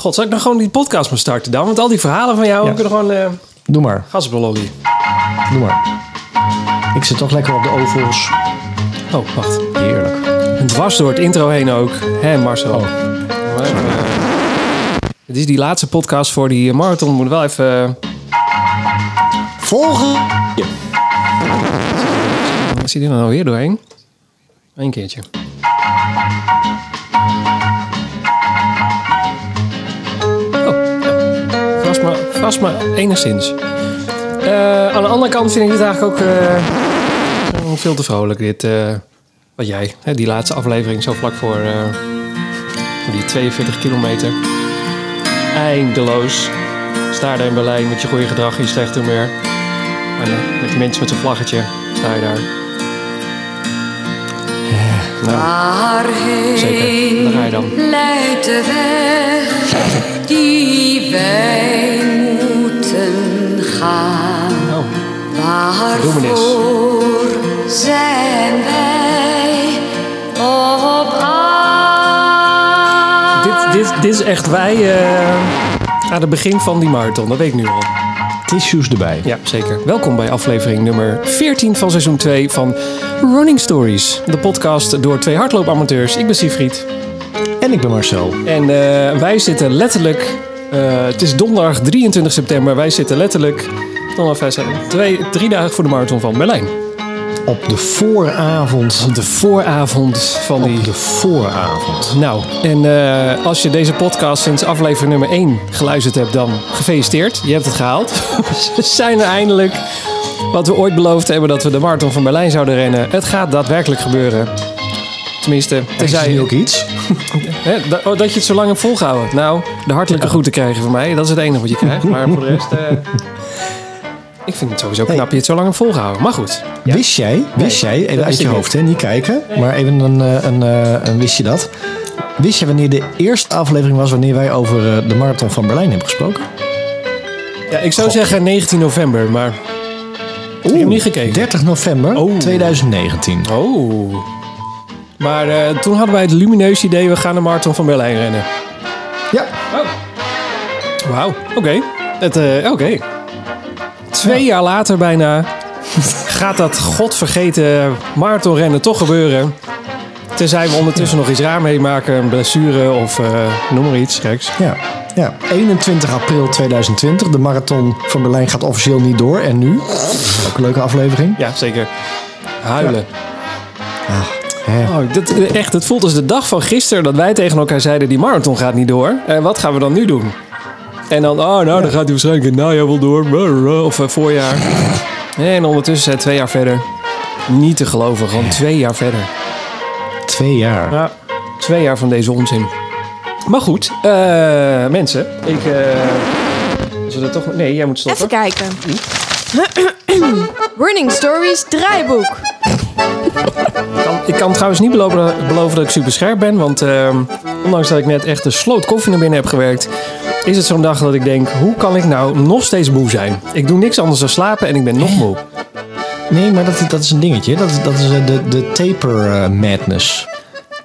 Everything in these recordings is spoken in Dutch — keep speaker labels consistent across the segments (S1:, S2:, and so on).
S1: God, zal ik nog gewoon die podcast maar starten dan? Want al die verhalen van jou
S2: Ja.
S1: kunnen gewoon eh
S2: Doe maar,
S1: gas op de lolly.
S2: doe maar. Ik zit toch lekker op de ovals.
S1: Oh, wacht.
S2: Heerlijk.
S1: En dwars door het intro heen ook. Hé, Marcel. Maar, eh, Het is die laatste podcast voor die eh, marathon. Moet wel even... eh,
S2: Volgen!
S1: Waar zit hij dan alweer nou doorheen? Eén keertje. Oh, ja. vast, maar, vast maar enigszins. Eh, aan de andere kant vind ik het eigenlijk ook eh, veel te vrolijk. Dit, eh, wat jij, hè, die laatste aflevering zo vlak voor, eh, voor die 42 kilometer. Eindeloos. Sta daar in Berlijn met je goede gedrag, je slecht humeur. En eh, met die mensen met zo'n vlaggetje sta je daar. Nou,
S3: Waarheen
S1: zeker. Daar ga je dan.
S3: leidt de weg die wij moeten gaan?
S1: Oh,
S3: Waarvoor zijn wij op aarde?
S1: dit, dit, dit is echt wij eh, aan het begin van die marathon. Dat weet ik nu al.
S2: Tissues erbij.
S1: Ja, zeker. Welkom bij aflevering nummer 14 van seizoen 2 van Running Stories. De podcast door twee hardloopamateurs. Ik ben Siegfried.
S2: En ik ben Marcel.
S1: En eh, wij zitten letterlijk... eh, het is donderdag 23 september. Wij zitten letterlijk... Donderdag, vijf, zes, twee, drie dagen voor de marathon van Berlijn.
S2: Op de vooravond.
S1: De vooravond van die...
S2: Op de vooravond.
S1: Nou, en eh, als je deze podcast sinds aflevering nummer 1 geluisterd hebt, dan gefeliciteerd. Je hebt het gehaald. we zijn er eindelijk. Wat we ooit beloofd hebben dat we de marathon van Berlijn zouden rennen. Het gaat daadwerkelijk gebeuren. Tenminste,
S2: Is
S1: tenzij
S2: er nu ook iets?
S1: hè, da- oh, dat je het zo lang hebt volgehouden. Nou, de hartelijke groeten krijgen van mij. Dat is het enige wat je krijgt. Maar voor de rest... eh, ik vind het sowieso knap dat je het zo lang hebt volgehouden. Maar goed.
S2: Wist jij, wist
S1: Nee,
S2: jij,
S1: dat
S2: even uit
S1: wist
S2: je
S1: ik
S2: hoofd, hè, niet kijken, maar even een, eh, een, eh, een wist je dat? Wist jij wanneer de eerste aflevering was wanneer wij over eh, de marathon van Berlijn hebben gesproken?
S1: Ja, ik zou zeggen 19 november, maar...
S2: Oeh,
S1: hem niet gekeken.
S2: 30 november
S1: Oh.
S2: 2019.
S1: Oh. Maar eh, toen hadden wij het lumineus idee, we gaan de marathon van Berlijn rennen.
S2: Ja,
S1: Oh. Wauw, oké. Het, eh, Oké. Twee jaar later bijna gaat dat godvergeten marathonrennen toch gebeuren. Tenzij we ondertussen nog iets raar meemaken, een blessure of eh, noem maar iets geks.
S2: ja, ja. 21 april 2020. De marathon van Berlijn gaat officieel niet door. En nu? Ook een leuke aflevering.
S1: Ja, zeker. Huilen.
S2: Hè.
S1: Oh, dat, echt, het voelt als de dag van gisteren dat wij tegen elkaar zeiden: die marathon gaat niet door. Eh, wat gaan we dan nu doen? En dan, oh, nou, dan gaat hij waarschijnlijk in het najaar wel door. Brrr, Of eh, voorjaar. En ondertussen zijn we twee jaar verder. Niet te geloven, gewoon twee jaar verder.
S2: Twee jaar.
S1: Ja, twee jaar van deze onzin. Maar goed, eh, mensen, ik. eh, zullen we toch. Nee, jij moet stoppen.
S4: Even kijken. Running Stories draaiboek.
S1: Kan- Ik kan trouwens niet beloven, beloven dat ik super scherp ben. Want ehm, ondanks dat ik net echt een sloot koffie naar binnen heb gewerkt. Is het zo'n dag dat ik denk: hoe kan ik nou nog steeds moe zijn? Ik doe niks anders dan slapen en ik ben nog moe.
S2: Nee, maar dat, dat is een dingetje. Dat, is- dat is eh, de, de taper eh, madness.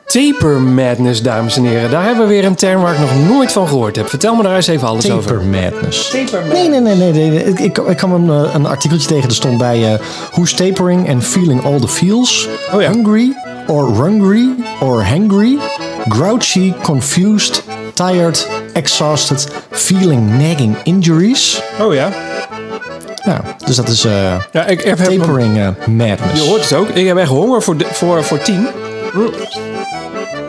S1: Taper madness, dames en heren. Daar hebben we weer een term waar ik nog nooit van gehoord heb. Vertel me daar eens even alles over.
S2: Taper madness.
S1: Taper
S2: Nee, nee, nee, nee. nee, nee. Ik, ik, ik kwam een, eh, een artikeltje tegen. Er stond bij eh Who's tapering and feeling all the feels?
S1: Oh ja.
S2: Hungry or hungry or hangry? Grouchy, confused, tired, exhausted, feeling nagging injuries.
S1: Oh ja.
S2: Nou, dus dat is eh,
S1: ja ik heb, heb-
S2: tapering eh, madness.
S1: je hoort het ook. Ik heb echt honger voor, de- voor, voor tien. Mm.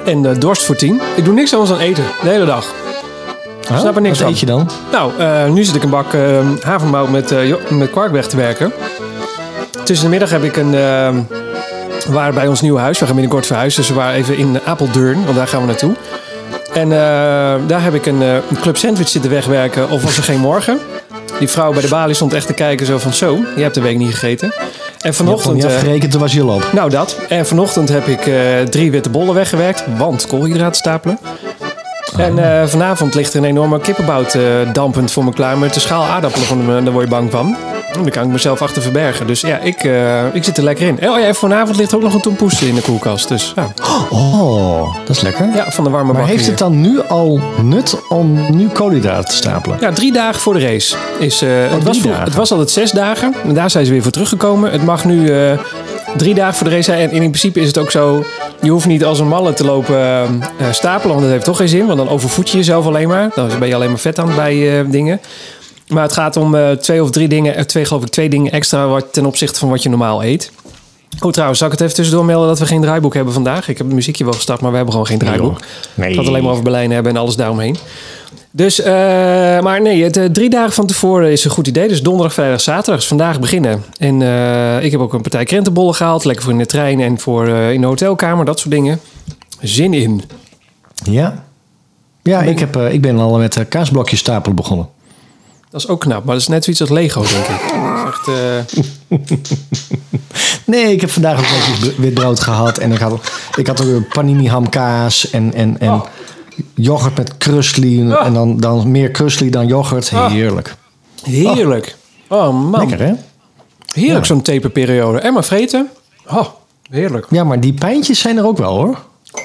S1: En eh, dorst voor tien. Ik doe niks anders dan eten. De hele dag.
S2: Huh?
S1: snap er niks
S2: Wat
S1: van.
S2: eet je dan?
S1: Nou, eh, nu zit ik een bak eh havermout met, eh, jo- met kwark weg te werken. Tussen de middag heb ik een... eh, we waren bij ons nieuwe huis. We gaan binnenkort verhuizen. Dus we waren even in Apeldeurn, want daar gaan we naartoe. En eh, daar heb ik een, eh, een club sandwich zitten wegwerken. Of was er geen morgen? Die vrouw bij de balie stond echt te kijken zo van... Zo, je hebt de week niet gegeten. En
S2: Je hebt nog
S1: vanochtend...
S2: niet
S1: eh,
S2: afgerekend, toen was je al op.
S1: nou, dat. En vanochtend heb ik eh, drie witte bollen weggewerkt, want koolhydraten stapelen. En eh, vanavond ligt er een enorme kippenbout eh, dampend voor me klaar met de schaal aardappelen. Van, daar word je bang van. En daar kan ik mezelf achter verbergen. Dus ja, ik, eh, ik zit er lekker in. Oh ja, en vanavond ligt ook nog een tompoes in de koelkast. Dus ja,
S2: Oh, dat is lekker.
S1: ja van de warme
S2: Maar
S1: bakker
S2: heeft het
S1: hier.
S2: dan nu al nut om nu koolhydraten te stapelen?
S1: Ja, drie dagen voor de race. Is, eh, het,
S2: Oh, drie
S1: was vroeg-
S2: dagen.
S1: het was altijd zes dagen. En daar zijn ze weer voor teruggekomen. Het mag nu eh, drie dagen voor de race zijn. En in principe is het ook zo... Je hoeft niet als een malle te lopen eh, eh, stapelen. Want dat heeft toch geen zin. Want dan overvoed je jezelf alleen maar. Dan ben je alleen maar vet aan het bij eh, dingen. Maar het gaat om eh, twee of drie dingen... eh, Twee, geloof ik, twee dingen extra wat, ten opzichte van wat je normaal eet. Oh, trouwens, zal ik het even tussendoor melden dat we geen draaiboek hebben vandaag? Ik heb het muziekje wel gestart, maar we hebben gewoon geen draaiboek.
S2: Nee.
S1: Ik had alleen maar over Berlijn hebben en alles daaromheen. Dus, eh, maar nee, het, eh, drie dagen van tevoren is een goed idee. Dus donderdag, vrijdag, zaterdag is vandaag beginnen. En eh, ik heb ook een partij krentenbollen gehaald. Lekker voor in de trein en voor eh, in de hotelkamer, dat soort dingen. Zin in.
S2: Ja. Ja, ik, heb, eh, ik ben al met eh, kaasblokjes stapelen begonnen.
S1: Dat is ook knap, maar dat is net zoiets als Lego, denk ik. Dat is echt, eh,
S2: Nee, ik heb vandaag ook netjes wit brood gehad. En ik had, ik had ook weer panini hamkaas en, en, en yoghurt met krusli. En, en dan, dan meer krusli dan yoghurt. Heerlijk.
S1: heerlijk. Oh man,
S2: Lekker, hè?
S1: heerlijk zo'n taperperiode. En maar vreten. Oh, heerlijk.
S2: Ja, maar die pijntjes zijn er ook wel, hoor.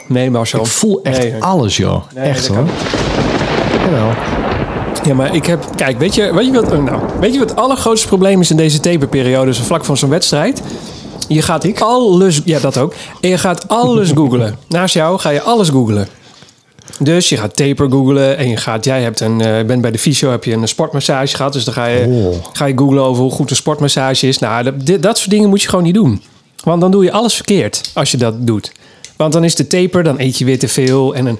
S1: Nee, Marcel.
S2: Ik voel echt
S1: Nee,
S2: alles, joh.
S1: Nee,
S2: echt,
S1: dat
S2: hoor.
S1: kan
S2: Jawel.
S1: Ja, maar ik heb. Kijk, weet je, weet je wat. Nou, weet je wat het allergrootste probleem is in deze taperperiode? Zo vlak van zo'n wedstrijd. Je gaat alles. Ja, dat ook. En je gaat alles googlen. Naast jou ga je alles googlen. Dus je gaat taper googlen en je gaat, jij hebt een, eh, bent bij de fysio, heb je een sportmassage gehad. Dus dan ga je,
S2: Oh.
S1: ga je googlen over hoe goed een sportmassage is. Nou, dat, dit- dat soort dingen moet je gewoon niet doen. Want dan doe je alles verkeerd als je dat doet. Want dan is de taper, dan eet je weer te veel. En een,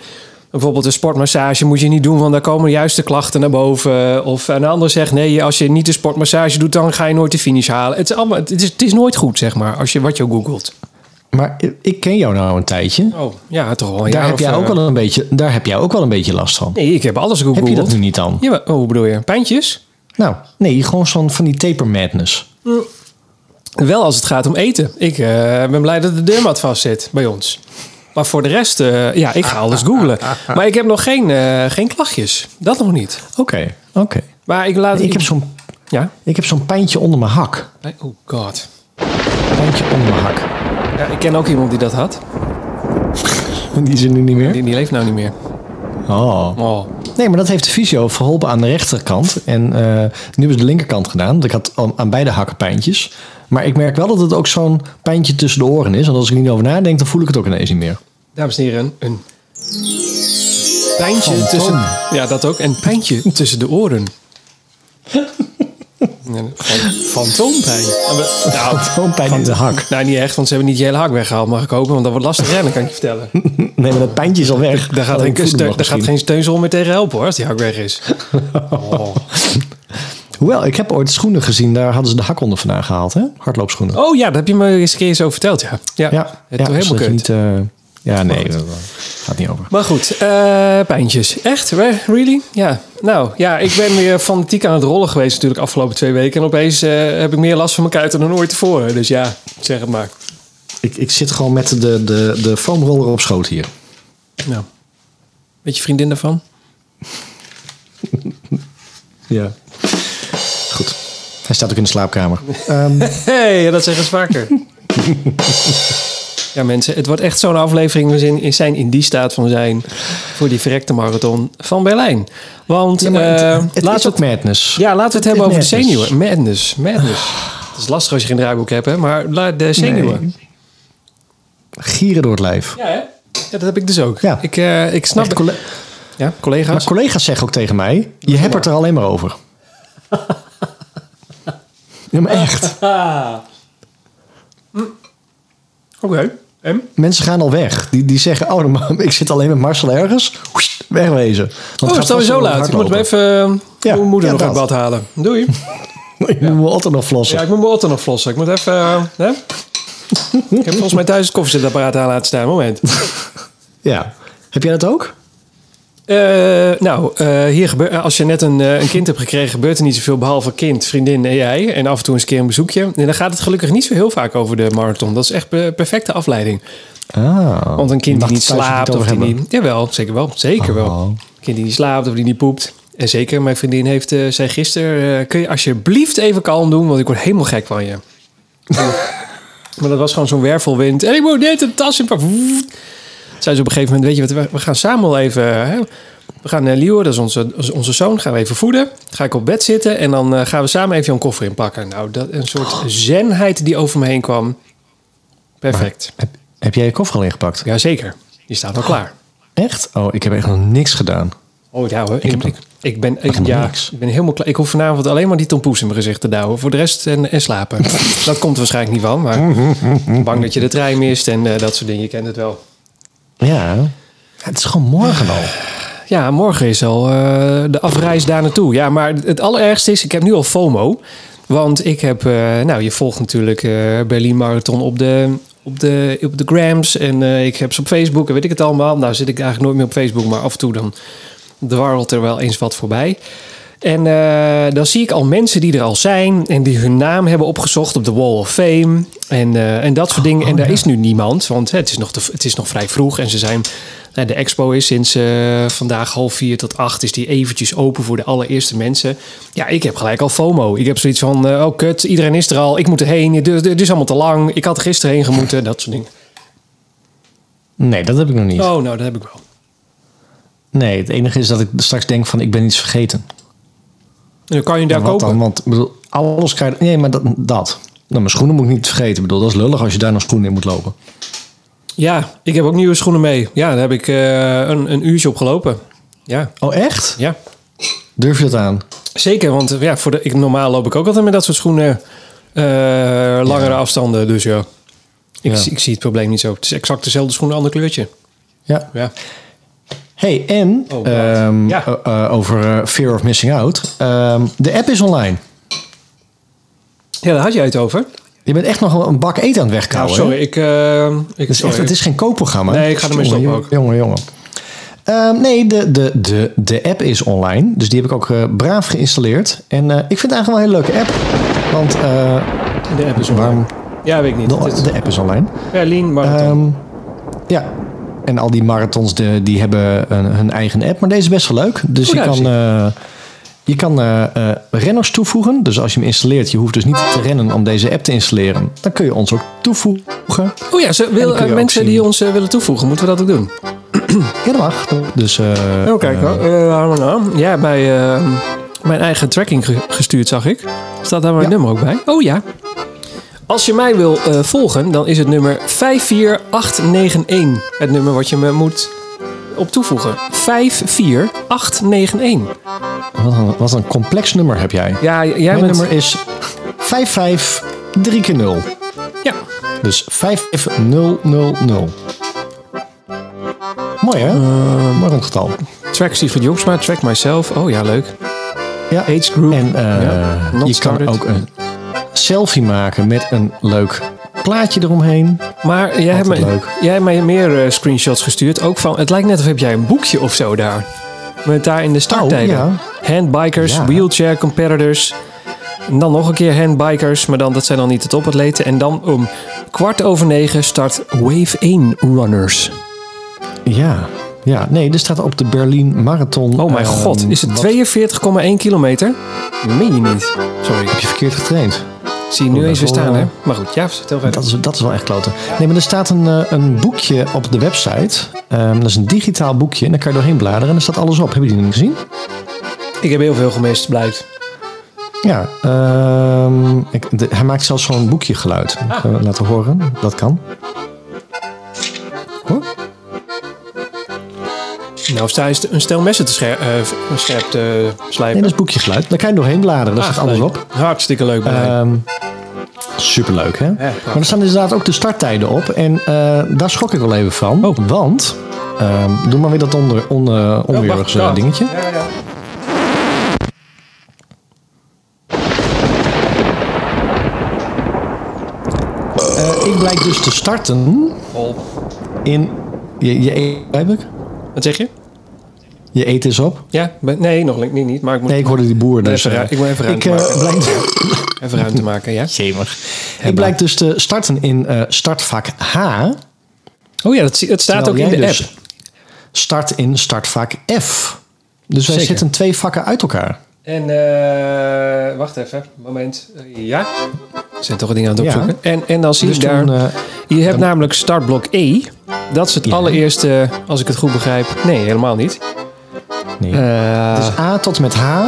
S1: bijvoorbeeld een sportmassage moet je niet doen, want daar komen juist de klachten naar boven. Of een ander zegt, nee, als je niet de sportmassage doet, dan ga je nooit de finish halen. Het is, allemaal, het is, het is nooit goed, zeg maar, als je wat je googelt.
S2: Maar ik ken jou nou een tijdje.
S1: Oh, ja, toch wel een
S2: Daar
S1: jaar
S2: heb,
S1: of,
S2: jij
S1: eh,
S2: ook wel een beetje, daar heb jij ook wel een beetje last van.
S1: Nee, ik heb alles gegoogeld.
S2: Heb je dat nu niet dan?
S1: Ja, maar- oh, hoe bedoel je? Pijntjes?
S2: Nou, nee, gewoon zo'n van die taper madness.
S1: Wel als het gaat om eten. Ik eh, ben blij dat de deurmat vast zit bij ons. Maar voor de rest, eh, ja, ik ga alles googlen. Maar ik heb nog geen, eh, geen klachtjes. Dat nog niet.
S2: Oké, oké.
S1: Maar ik laat...
S2: Ik heb zo'n
S1: Ja?
S2: ik heb zo'n pijntje onder mijn hak.
S1: Nee, Oh god.
S2: Pijntje onder mijn hak.
S1: Ja, ik ken ook iemand die dat had.
S2: Die is er nu niet meer.
S1: Die, die leeft nou niet meer.
S2: Oh.
S1: Oh.
S2: Nee, maar dat heeft de fysio verholpen aan de rechterkant. En eh, nu hebben ze de linkerkant gedaan. Want ik had aan, aan beide hakken pijntjes. Maar ik merk wel dat het ook zo'n pijntje tussen de oren is. En als ik er niet over nadenk, dan voel ik het ook ineens niet meer.
S1: Dames en heren, een... Pijntje
S2: Fantoom.
S1: tussen... Ja, dat ook. En pijntje tussen de oren. Ja, fan- Fantoompijn. Nou,
S2: Gewoon pijn in de hak.
S1: Nou, niet echt, want ze hebben niet je hele hak weggehaald, mag ik hopen. Want dat wordt lastig rennen, kan ik je vertellen.
S2: Nee, maar dat pijntje is al weg.
S1: Daar gaat,
S2: Alleen
S1: geen,
S2: voelen
S1: steun,
S2: nog
S1: daar gaat
S2: misschien.
S1: geen steunzool meer tegen helpen, hoor, als die hak weg is. Oh,
S2: Hoewel, ik heb ooit schoenen gezien. Daar hadden ze de hak onder vandaan gehaald, hè? Hardloopschoenen.
S1: Oh ja, dat heb je me eens een keer zo verteld, ja. Ja,
S2: Ja,
S1: het
S2: ja,
S1: doet helemaal
S2: zodat je
S1: kut.
S2: Niet, eh, ja, nee, dat eh, gaat niet over.
S1: Maar goed, eh, pijntjes. Echt? Re- Really? Ja. Nou, ja, ik ben weer fanatiek aan het rollen geweest natuurlijk afgelopen twee weken. En opeens eh, heb ik meer last van mijn kuiten dan ooit tevoren. Dus ja, zeg het maar.
S2: Ik, ik zit gewoon met de, de, de foamroller op schoot hier.
S1: Nou, weet je vriendin daarvan?
S2: Ja. Goed. Hij staat ook in de slaapkamer.
S1: Hé, hey, dat zeggen ze vaker. ja, mensen, het wordt echt zo'n aflevering. We zijn- zijn in die staat van zijn voor die verrekte marathon van Berlijn. Want eh
S2: het
S1: laten,
S2: laat
S1: we
S2: ook
S1: het,
S2: madness.
S1: ja, laten we het hebben
S2: is
S1: over de
S2: madness. Ah.
S1: zenuwen. Madness, madness. Het is lastig als je geen draaiboek hebt, hè? maar la- de zenuwen.
S2: Nee. Gieren door het lijf.
S1: Ja, hè? Ja, dat heb ik dus ook.
S2: Ja.
S1: Ik, eh, ik snap
S2: Echt colle-
S1: Ja,
S2: maar
S1: collega's.
S2: collega's zeggen ook tegen mij, je hebt het er alleen maar over. Ja, maar echt. Ah. Hm.
S1: Oké. En?
S2: Mensen gaan al weg. Die, die zeggen, oh, maar ik zit alleen met Marcel ergens. Wst, Wegwezen.
S1: Oh, het is alweer zo laat. Ik moet me even eh,
S2: Ja,
S1: mijn moeder
S2: ja,
S1: nog uit
S2: dat.
S1: bad halen. Doei.
S2: Ik moet me altijd nog flossen.
S1: Ja, ik moet mijn auto nog flossen. Ik moet even... eh, hè? Ik heb volgens mij thuis het koffiezetapparaat aan laten staan. Moment.
S2: Ja. Heb jij dat ook?
S1: Eh, nou, eh, hier gebeurt, eh, als je net een, eh, een kind hebt gekregen... gebeurt er niet zoveel behalve kind, vriendin en jij. En af en toe eens een keer een bezoekje. En dan gaat het gelukkig niet zo heel vaak over de marathon. Dat is echt de perfecte afleiding.
S2: Ah.
S1: Want een kind die
S2: Dacht
S1: niet
S2: thuis dat we het
S1: slaapt
S2: over
S1: of die
S2: hebben.
S1: niet... Jawel, zeker wel. Zeker wel.
S2: Oh.
S1: Een kind die niet slaapt of die niet poept. En zeker, mijn vriendin heeft, eh, zei gisteren... eh, kun je alsjeblieft even kalm doen, want ik word helemaal gek van je. Ja. maar dat was gewoon zo'n wervelwind. En ik moet net een tas in... pa- Zei ze op een gegeven moment, weet je wat, we- we gaan samen wel even... Hè, we gaan naar Liewe, dat is onze, onze zoon, gaan we even voeden. Ga ik op bed zitten en dan eh, gaan we samen even een koffer inpakken. Nou, dat, een soort
S2: Oh.
S1: zenheid die over me heen kwam. Perfect.
S2: Heb, heb jij je koffer al ingepakt?
S1: Jazeker, die staat al klaar.
S2: Echt? Oh, ik heb echt nog niks gedaan.
S1: Oh ja hoor. Ik, ik,
S2: heb nog-
S1: ik ben, ik,
S2: helemaal
S1: ja,
S2: niks.
S1: ik ben helemaal klaar. Ik hoef vanavond alleen maar die tompoes in mijn gezicht te douwen. Voor de rest en, en slapen. dat komt er waarschijnlijk niet van. Maar bang dat je de trein mist en eh, dat soort dingen. Je kent het wel.
S2: Ja. Ja, Het is gewoon morgen al.
S1: Ja, morgen is al eh, de afreis daar naartoe. Ja, maar het allerergste is, ik heb nu al FOMO. Want ik heb, eh, nou, je volgt natuurlijk eh, Berlin Marathon op de, op, de, op de grams. En eh, ik heb ze op Facebook en weet ik het allemaal. Nou zit ik eigenlijk nooit meer op Facebook, maar af en toe dan dwarrelt er wel eens wat voorbij. En eh, dan zie ik al mensen die er al zijn en die hun naam hebben opgezocht op de Wall of Fame. En, eh, en dat soort dingen. en daar is nu niemand, want hè, het, is nog te, het is nog vrij vroeg. En ze zijn, nou, de expo is sinds eh, vandaag half vier tot acht, is die eventjes open voor de allereerste mensen. Ja, ik heb gelijk al FOMO. Ik heb zoiets van, eh, oh kut, iedereen is er al. Ik moet erheen. Het is- het is allemaal te lang. Ik had er gisteren heen gemoeten. Dat soort dingen.
S2: Nee, dat heb ik nog niet.
S1: Oh, nou, dat heb ik wel.
S2: Nee, het enige is dat ik straks denk van ik ben iets vergeten.
S1: En dan kan je daar
S2: Ja, wat
S1: kopen.
S2: dan? Want ik bedoel, alles krijg je... Nee, maar dat... dat. Nou, mijn schoenen moet ik niet vergeten. Ik bedoel, dat is lullig als je daar nog schoenen in moet lopen.
S1: Ja, ik heb ook nieuwe schoenen mee. Ja, daar heb ik eh, een, een uurtje op gelopen. Ja,
S2: Oh, echt?
S1: ja.
S2: Durf je dat aan?
S1: Zeker, want eh, ja, voor de, ik, normaal loop ik ook altijd met dat soort schoenen eh, langere afstanden. Dus ja, ik,
S2: Ja.
S1: zie- ik zie het probleem niet zo. Het is exact dezelfde schoen, een ander kleurtje.
S2: Ja.
S1: Ja.
S2: Hey, en
S1: Oh, wat?
S2: ehm,
S1: Ja.
S2: eh, eh, over eh, Fear of Missing Out. Ehm, de app is online.
S1: ja, daar had jij het over.
S2: Je bent echt nog wel een bak eten aan het
S1: Nou,
S2: wegkouwen. Nou, hè?
S1: sorry, ik... eh, ik
S2: Het is, echt,
S1: sorry.
S2: het is geen koopprogramma.
S1: Nee, ik ga ermee
S2: Jongen,
S1: stoppen ook.
S2: Jongen, jongen. Ehm, nee, de, de, de, de app is online. Dus die heb ik ook eh, braaf geïnstalleerd. En eh, ik vind het eigenlijk wel een hele leuke app. Want eh,
S1: de app is
S2: waarom-
S1: online. Ja, weet ik niet. Het
S2: de,
S1: is
S2: de app is online.
S1: Berlin Marathon.
S2: Ehm, ja. En al die marathons de, die hebben een, hun eigen app. Maar deze is best wel leuk. Dus
S1: Oh,
S2: je,
S1: daar is
S2: kan, eh, je kan eh, eh, renners toevoegen. Dus als je hem installeert, je hoeft dus niet te rennen om deze app te installeren. Dan kun je ons ook toevoegen.
S1: oh ja, ze, wil,
S2: kun je
S1: eh,
S2: ook
S1: mensen
S2: zien.
S1: die ons eh, willen toevoegen, moeten we dat ook doen?
S2: Ja, dat mag. Dus, eh,
S1: Oh, kijk hoor. Eh, nou, ja, bij eh, mijn eigen tracking ge- gestuurd zag ik. Staat daar mijn
S2: Ja.
S1: nummer ook bij? Oh ja. Als je mij wil eh, volgen, dan is het nummer 54891. Het nummer wat je me moet op toevoegen. 54891.
S2: Wat een, wat een complex nummer heb jij.
S1: Ja, j- jij
S2: Mijn
S1: bent...
S2: nummer is 55 3 keer 0.
S1: Ja.
S2: Dus 55000. Mooi hè? Mooi rondgetal.
S1: Track Steven Jongsma, track myself. Oh ja, leuk.
S2: Ja.
S1: Age group.
S2: En eh,
S1: Ja, not
S2: je
S1: started.
S2: kan ook een selfie maken met een leuk plaatje eromheen.
S1: Maar jij hebt,
S2: Altijd
S1: mij,
S2: leuk.
S1: jij hebt mij meer eh, screenshots gestuurd. Ook van, het lijkt net of heb jij een boekje of zo daar. Met daar in de starttijden.
S2: ja.
S1: Handbikers,
S2: Ja.
S1: wheelchair competitors. En dan nog een keer handbikers. Maar dan, dat zijn dan niet de topatleten. En dan om kwart over negen start Wave 1 Runners.
S2: Ja. Ja, nee, er staat op de Berlin Marathon.
S1: Oh mijn
S2: ehm,
S1: god, is het
S2: wat-
S1: 42,1 kilometer? Meen je niet. Sorry,
S2: Heb je verkeerd getraind?
S1: zie je nu
S2: dat
S1: eens weer
S2: is wel,
S1: staan hè.
S2: eh,
S1: Maar goed, ja, vertel verder.
S2: Dat is, dat is wel echt kloten. Nee, maar er staat een, eh, een boekje op de website. Ehm, dat is een digitaal boekje. En daar kan je doorheen bladeren. En daar staat alles op. Heb je die nog niet gezien?
S1: Ik heb heel veel gemist, blijkt.
S2: Ja. ehm, ik, de- hij maakt zelfs zo'n boekje geluid.
S1: Ah.
S2: Kunnen we laten horen. Dat kan. Hoor?
S1: Nou, of sta je een stel messen te scherp, scherp te
S2: Nee,
S1: slijpen.
S2: dat is boekje geluid. Daar kan je doorheen bladeren. Daar staat alles
S1: Ah, leuk.
S2: op.
S1: Hartstikke leuk. Marijn.
S2: Ehm superleuk, hè?
S1: prachtig.
S2: maar er staan inderdaad ook de starttijden op. En eh, daar schrok ik wel even van. Want, ehm, doe maar weer dat onder, on, eh, onweerigs, eh,
S1: wacht, Oh. ja.
S2: dingetje. Eh, ik blijk dus te starten in... Je, je eet, heb ik?
S1: Wat zeg je?
S2: Je eet is op?
S1: Ja, ben- nee, nog niet, niet, maar ik moet
S2: Nee, ik hoorde die boer. Dus,
S1: Even
S2: eh,
S1: ru- ik moet even
S2: ik,
S1: ruimte
S2: eh, blijk,
S1: even ruimte maken. Ja?
S2: ik blijk dus te starten in eh, startvak H.
S1: Oh ja, dat, zie- het staat
S2: Terwijl
S1: ook in
S2: jij
S1: de
S2: dus
S1: app.
S2: Start in startvak F. Dus wij
S5: Zeker.
S2: zitten twee vakken uit elkaar.
S1: En eh, wacht even, moment. Eh, ja. We zijn toch een ding aan het
S2: Ja.
S1: opzoeken. En, en dan zie
S2: Dus
S1: je daar.
S2: toen, eh,
S1: je hebt namelijk startblok E. Dat is het
S2: Ja.
S1: allereerste, als ik het goed begrijp. Nee, helemaal niet.
S2: nee.
S1: Eh,
S2: Het is A tot en met H.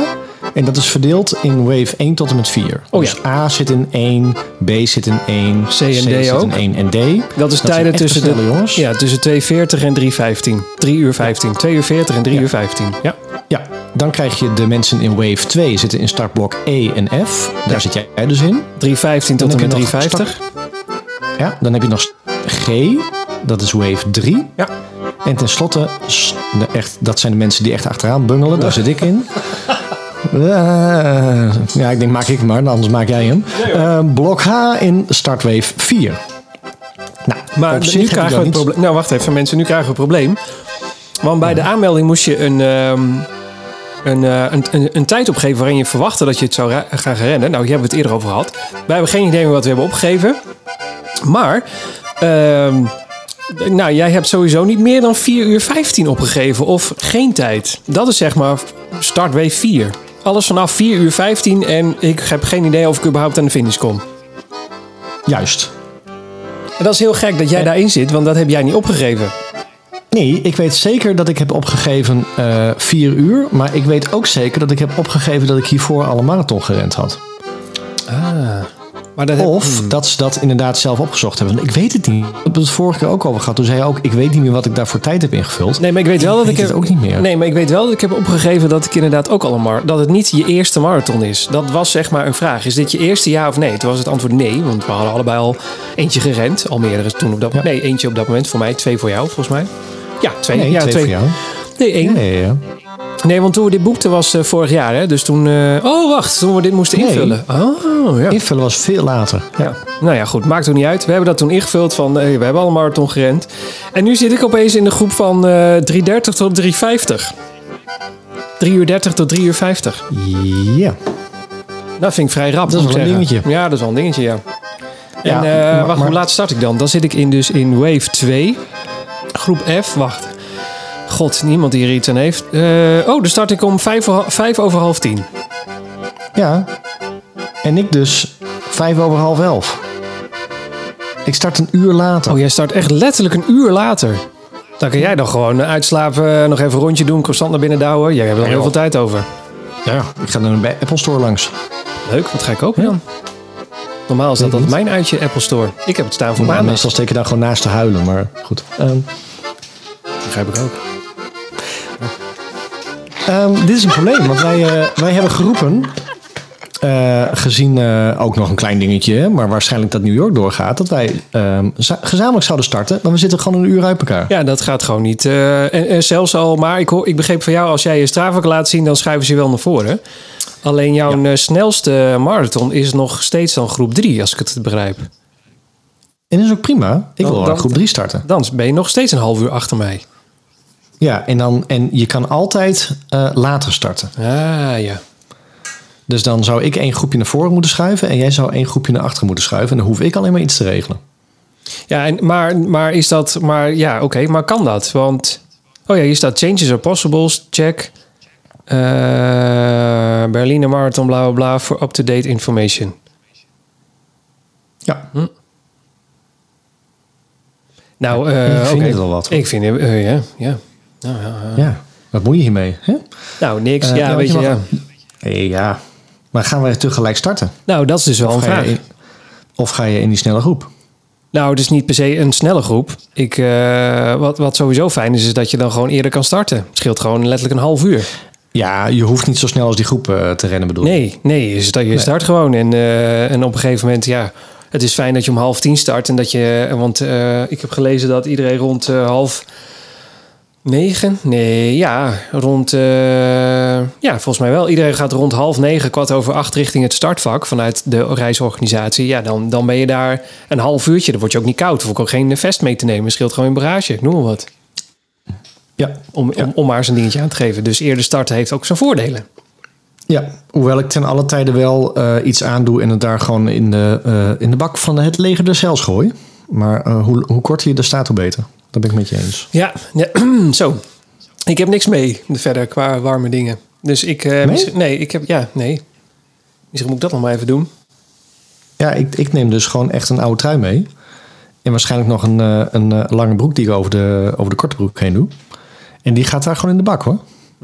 S2: En dat is verdeeld in wave 1 tot en met 4.
S1: Oh
S2: dus
S1: ja.
S2: A zit in 1, B zit in 1, C
S1: en D
S2: zit
S1: ook.
S2: in 1 en D.
S1: dat is
S2: zijn
S1: tijden
S2: echte
S1: tussen
S2: snelle
S1: de
S2: jongens.
S1: Ja, tussen 2.40 en 3.15. 3 uur 15. 2 uur 40 en 3 uur 15. Ja.
S2: Ja, dan krijg je de mensen in wave 2 zitten in startblok E en F. Daar zit jij dus in.
S1: 3.15 tot en
S2: heb je
S1: met
S2: nog
S1: 3.50.
S2: Ja, dan heb je nog G, dat is wave 3.
S1: Ja.
S2: En tenslotte, s- de echt, dat zijn de mensen die echt achteraan bungelen, daar zit ik in. Eh, Ja, ik denk maak ik hem maar, nou, anders maak jij hem. Eh, blok H in startwave 4. Nou,
S1: Maar
S2: op zich
S1: nu
S2: heb
S1: krijgen
S2: ik daar
S1: we het
S2: niet-
S1: probleem. Nou, wacht even, mensen. Nu krijgen we een probleem. Want bij de aanmelding moest je een, ehm, een, eh, een, een, een tijd opgeven waarin je verwachtte dat je het zou ra- gaan rennen. Nou, hier hebben we het eerder over gehad. Wij hebben geen idee meer wat we hebben opgegeven. Maar, ehm, nou, jij hebt sowieso niet meer dan 4 uur 15 opgegeven of geen tijd. Dat is zeg maar startwave 4. Alles vanaf 4 uur 15 en ik heb geen idee of ik überhaupt aan de finish kom.
S2: Juist.
S1: En dat is heel gek dat jij daarin zit, want dat heb jij niet opgegeven.
S2: Nee, ik weet zeker dat ik heb opgegeven eh 4 uur. Maar ik weet ook zeker dat ik heb opgegeven dat ik hiervoor al een marathon gerend had.
S1: Maar dat heb-
S2: Of dat ze dat inderdaad zelf opgezocht hebben. Want Ik weet het niet. We hebben het vorige keer ook over gehad. Toen zei je ook, ik weet niet meer wat ik daar voor tijd heb ingevuld.
S1: Nee, maar ik weet wel dat ik
S2: weet
S1: heb,
S2: het ook niet meer.
S1: Nee, maar ik weet wel dat ik heb opgegeven dat ik inderdaad ook al een mar- dat het niet je eerste marathon is. Dat was zeg maar een vraag. Is dit je eerste ja of nee? Toen was het antwoord nee, want we hadden allebei al eentje gerend, al meerdere toen op dat moment. Nee, eentje op dat moment voor mij, twee voor jou volgens mij. Ja, twee.
S2: Nee,
S1: ja,
S2: twee, voor jou.
S1: Nee, één. Nee.
S2: Nee, ja.
S1: want toen we dit boekten was eh, vorig jaar, hè? Dus toen. eh, oh, wacht, toen we dit moesten
S2: Nee.
S1: invullen. Oh, ja.
S2: Invullen was veel later.
S1: Ja. Nou ja, goed, maakt ook niet uit. We hebben dat toen ingevuld van, hey, we hebben al een marathon gerend. En nu zit ik opeens in de groep van eh 3.30 tot 3.50. 3 uur 30 tot 3 uur 50.
S2: Ja.
S1: Dat vind ik vrij rap.
S2: Dat is
S1: moet ik
S2: wel een
S1: zeggen.
S2: dingetje.
S1: Ja, dat is wel een dingetje, ja. En
S2: Ja,
S1: eh,
S2: maar-
S1: wacht, hoe
S2: maar-
S1: laat start ik dan? Dan zit ik in, dus in wave 2. Groep F, wacht. God, niemand die er iets aan heeft. Eh, oh, dan start ik om 5 over half 10.
S2: Ja. En ik dus vijf over half elf. Ik start een uur later.
S1: Oh, jij start echt letterlijk een uur later. Dan kan jij dan gewoon eh, uitslapen, eh, nog even een rondje doen, constant naar binnen douwen. Jij hebt er nog heel
S2: joh.
S1: veel tijd over.
S2: ja. Ik ga dan bij Apple Store langs.
S1: Leuk, wat ga ik kopen dan? Normaal is dat altijd mijn uitje, Apple Store. Ik heb het staan voor
S2: Maar
S1: maandag.
S2: meestal steek je daar gewoon naast te huilen. Maar goed. Ehm,
S1: begrijp ik ook.
S2: Ehm, dit is een probleem, want wij, eh, wij hebben geroepen. eh, gezien eh, ook nog een klein dingetje, hè, maar waarschijnlijk dat New York doorgaat, dat wij ehm, za- gezamenlijk zouden starten, maar we zitten gewoon een uur uit elkaar.
S1: Ja, dat gaat gewoon niet. eh, en, en zelfs al, maar ik, hoor, ik begreep van jou, als jij je Strava laat zien, dan schuiven ze je wel naar voren. Alleen jouw eh, snelste marathon is nog steeds dan groep 3, als ik het begrijp.
S2: En dat is ook prima. Ik
S1: Dan-
S2: wil wel
S1: dan-
S2: groep 3 starten.
S1: Dan ben je nog steeds een half uur achter mij.
S2: Ja, en, dan, en je kan altijd eh, later starten.
S1: Ah ja.
S2: Dus dan zou ik één groepje naar voren moeten schuiven en jij zou één groepje naar achteren moeten schuiven. En dan hoef ik alleen maar iets te regelen.
S1: Ja, en, maar, maar is dat. Maar ja, oké, maar kan dat? Want. Oh ja, hier staat Changes are Possibles, check. Eh, Berliner Marathon, bla bla bla, voor up-to-date information.
S2: Ja,
S1: Nou, eh
S2: ik vind
S1: oké.
S2: het al wat.
S1: Ik vind eh, ja, ja.
S2: ja. Wat moet je hiermee? Hè?
S1: Nou, niks.
S2: Eh,
S1: ja,
S2: ja,
S1: weet je.
S2: want je
S1: Ja.
S2: mag- Hé, ja. Maar gaan wij tegelijk starten?
S1: Nou, dat is dus wel een
S2: Of ga,
S1: vraag.
S2: je in, of ga je in die snelle groep?
S1: Nou, het is niet per se een snelle groep. Ik, eh, wat, wat sowieso fijn is, is dat je dan gewoon eerder kan starten. Het scheelt gewoon letterlijk een half uur.
S2: Ja, je hoeft niet zo snel als die groep eh, te rennen, bedoel ik.
S1: Nee, nee, je start, je start gewoon. En, eh, en op een gegeven moment, ja, het is fijn dat je om half tien start. En dat je, want eh, ik heb gelezen dat iedereen rond eh, half negen, nee, ja, rond, eh, ja, volgens mij wel. Iedereen gaat rond half negen, kwart over acht richting het startvak vanuit de reisorganisatie. Ja, dan, dan ben je daar een half uurtje. Dan word je ook niet koud. Hoef ik ook geen vest mee te nemen. Scheelt gewoon een barrage, ik noem maar wat.
S2: Ja,
S1: Om, om, om maar eens een dingetje aan te geven. Dus eerder starten heeft ook zijn voordelen.
S2: ja, hoewel ik ten alle tijde wel eh, iets aandoe en het daar gewoon in de, eh, in de bak van het leger de cels gooi. Maar eh, hoe, hoe korter je er staat, hoe beter. Dat ben ik met je eens.
S1: Ja, ja, zo. Ik heb niks mee verder qua warme dingen. Dus ik... eh, misschien- nee, ik heb... Ja, nee. Misschien moet ik dat nog maar even doen.
S2: Ja, ik, ik neem dus gewoon echt een oude trui mee. En waarschijnlijk nog een, eh, een eh, lange broek die ik over de, over de korte broek heen doe. En die gaat daar gewoon in de bak hoor.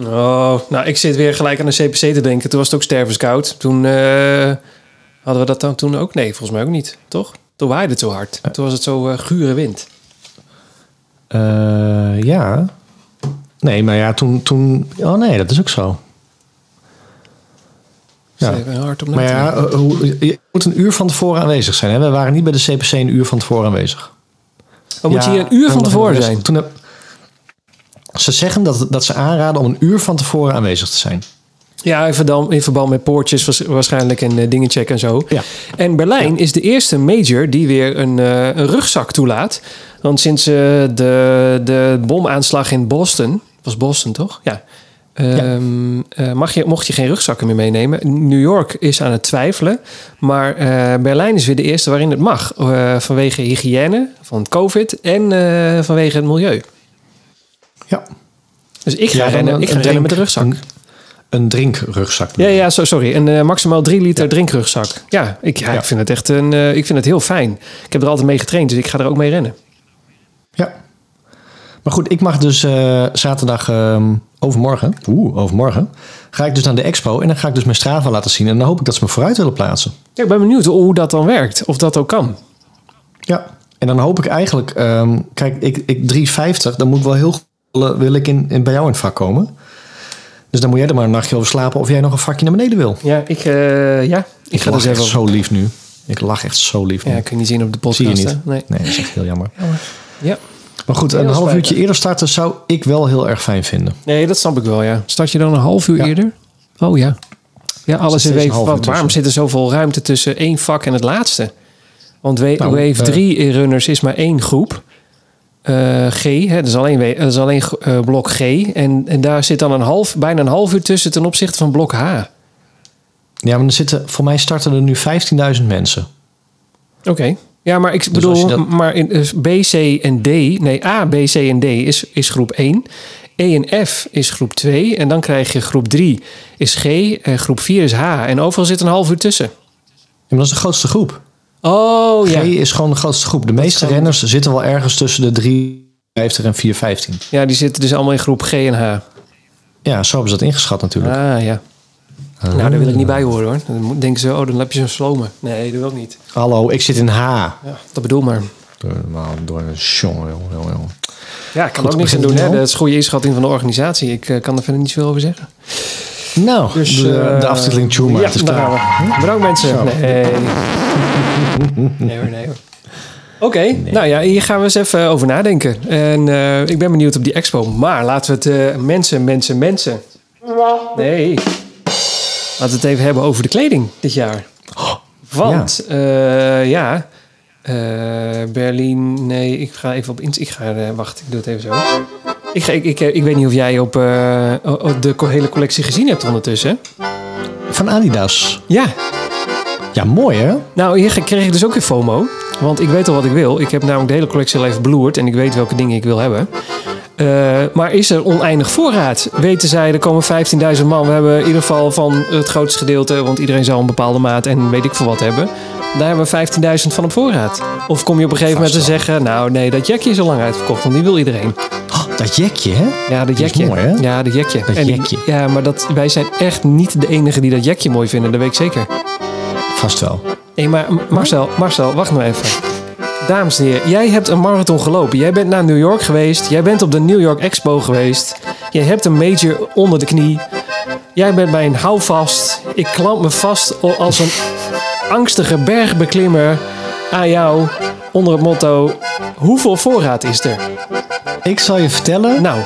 S1: Oh, nou, ik zit weer gelijk aan de CPC te denken. Toen was het ook stervenskoud. Toen eh, hadden we dat dan toen ook? Nee, volgens mij ook niet, toch? Toen waaide het zo hard. Toen was het zo eh, gure wind.
S2: Eh, ja. Nee, maar ja, toen, toen... Oh nee, dat is ook zo.
S1: Ja.
S2: Ja.
S1: Dus even hard op na
S2: Maar
S1: te
S2: ja,
S1: denken.
S2: eh, hoe, je moet een uur van tevoren aanwezig zijn. Hè? We waren niet bij de CPC een uur van tevoren aanwezig.
S1: Dan Oh, moet
S2: Ja,
S1: je hier een uur
S2: dan
S1: van
S2: was-
S1: tevoren zijn.
S2: Toen heb- ze zeggen dat, dat ze aanraden om een uur van tevoren aanwezig te zijn.
S1: Ja, in verband, in verband met poortjes waars- waarschijnlijk en eh, dingen checken en zo.
S2: Ja.
S1: En Berlijn is de eerste major die weer een, eh, een rugzak toelaat. Want sinds eh, de, de bomaanslag in Boston, was Boston toch? Ja. Ehm, eh, mag je, mocht je geen rugzakken meer meenemen. New York is aan het twijfelen. Maar eh, Berlijn is weer de eerste waarin het mag. Eh, vanwege hygiëne, van COVID en eh, vanwege het milieu.
S2: Ja.
S1: Dus ik ga
S2: dan
S1: rennen,
S2: een-
S1: ik ga
S2: een
S1: rennen met de
S2: drink-
S1: rugzak.
S2: Een, een drinkrugzak.
S1: Ja, ja, zo- sorry. Een eh, maximaal 3 liter drinkrugzak. Ja, ik, ja,
S2: Ja.
S1: ik vind het echt een, eh, ik vind het heel fijn. Ik heb er altijd mee getraind, dus ik ga er ook mee rennen.
S2: Ja. Maar goed, ik mag dus eh, zaterdag ehm, overmorgen, oeh, overmorgen, ga ik dus naar de expo en dan ga ik dus mijn Strava laten zien. En dan hoop ik dat ze me vooruit willen plaatsen.
S1: Ja, ik ben benieuwd hoe dat dan werkt. Of dat ook kan.
S2: Ja. En dan hoop ik eigenlijk, ehm, kijk, ik, ik 350, dan moet ik wel heel goed willen- wil ik in, in, bij jou in het vak komen. Dus dan moet jij er maar een nachtje over slapen of jij nog een vakje naar beneden wil.
S1: Ja, ik, eh, ja, ik,
S2: Ik
S1: ga
S2: lach
S1: dus
S2: echt
S1: even...
S2: zo lief nu. Ik lach echt zo lief nu.
S1: Ja, kun je niet zien op de podcast.
S2: Zie je
S1: hè?
S2: niet?
S1: Nee.
S2: dat is echt heel jammer.
S1: Ja.
S2: Maar goed, een
S1: Heel
S2: half uurtje
S1: spijtig.
S2: eerder starten zou ik wel heel erg fijn vinden.
S1: nee, dat snap ik wel, ja. Start je dan een half uur
S2: Ja.
S1: eerder? Oh ja. Ja, alles
S2: steeds
S1: in
S2: een
S1: wave.
S2: half uur
S1: Wat,
S2: tussen.
S1: waarom zit er zoveel ruimte tussen één vak en het laatste? Want wa-
S2: Nou,
S1: wave
S2: eh,
S1: 3 runners is maar één groep. Eh, G, hè, dat is alleen, we- dat is alleen eh, blok G. En, en daar zit dan een half, bijna een half uur tussen ten opzichte van blok H.
S2: Ja, maar er zitten, voor mij starten er nu 15.000 mensen.
S1: Oké. Ja, maar ik
S2: als
S1: bedoel,
S2: je dat-
S1: maar in, eh, B, C en D, nee, A, B, C en D is, is groep 1. E en F is groep 2. En dan krijg je groep 3 is G, en groep 4 is H. En overal zit een half uur tussen.
S2: Ja, maar dat is de grootste groep.
S1: Oh
S2: G
S1: ja.
S2: is gewoon de grootste groep. De meeste
S1: gewoon-
S2: renners zitten wel ergens tussen de 3,50 en 4,15.
S1: Ja, die zitten dus allemaal in groep G en H.
S2: Ja, zo hebben ze dat ingeschat natuurlijk.
S1: Ah ja. Nou, daar wil ik niet bij horen hoor. Dan moet- denken ze, oh, dan heb je zo'n slome. Nee, dat wil ik niet.
S2: Hallo, ik zit in H.
S1: Ja, dat bedoel maar.
S2: Normaal door een jongen, jongen, jongen.
S1: Ja, ik kan
S2: Goed,
S1: ook niks aan
S2: begint
S1: doen. Hè?
S2: het al?
S1: Dat is goede inschatting van de organisatie. Ik eh, kan er verder niet zoveel over zeggen.
S2: Nou,
S1: Dus,
S2: de,
S1: eh,
S2: de aftiteling Tune, maar
S1: ja,
S2: het is
S1: daar
S2: klaar. Hm?
S1: gaan we. Bedankt mensen.
S2: Zo.
S1: Nee. nee hoor, nee hoor. Oké, nou ja, hier gaan we eens even over nadenken. En eh, ik ben benieuwd op die expo. Maar laten we het eh, mensen, mensen, mensen. Nee. Laten we het even hebben over de kleding dit jaar. Want, ja, ja eh, Berlijn, nee, ik ga even op... ins- Ik ga, eh, wacht, ik doe het even zo. Ik, ga- ik, ik, ik weet niet of jij op, eh, o- o- de co- hele collectie gezien hebt ondertussen. hè?
S2: Van Adidas.
S1: Ja,
S2: Ja, mooi hè?
S1: nou, hier kreeg ik dus ook weer FOMO. Want ik weet al wat ik wil. Ik heb namelijk de hele collectie al even beloerd. En ik weet welke dingen ik wil hebben. Eh, maar is er oneindig voorraad? Weten zij, er komen 15.000 man. We hebben in ieder geval van het grootste gedeelte... want iedereen zal een bepaalde maat en weet ik veel wat hebben. Daar hebben we 15.000 van op voorraad. Of kom je op een gegeven moment te
S2: Vast wel.
S1: zeggen... nou nee, dat jekje is al lang uitverkocht, want die wil iedereen.
S2: Oh, dat jekje hè?
S1: Ja, dat
S2: Die is
S1: jekje.
S2: mooi, hè?
S1: Ja, dat jekje.
S2: Dat
S1: die-
S2: jekje.
S1: Ja, maar dat, wij zijn echt niet de enigen die dat jekje mooi vinden. Dat weet ik zeker.
S2: Vast wel.
S1: Nee, maar M- Marcel, Marcel, wacht nou even. Dames en heren, jij hebt een marathon gelopen. Jij bent naar New York geweest. Jij bent op de New York Expo geweest. Jij hebt een major onder de knie. Jij bent bij een houvast. Ik klamp me vast o- als een angstige bergbeklimmer aan jou onder het motto: hoeveel voorraad is er?
S2: Ik zal je vertellen,
S1: Nou,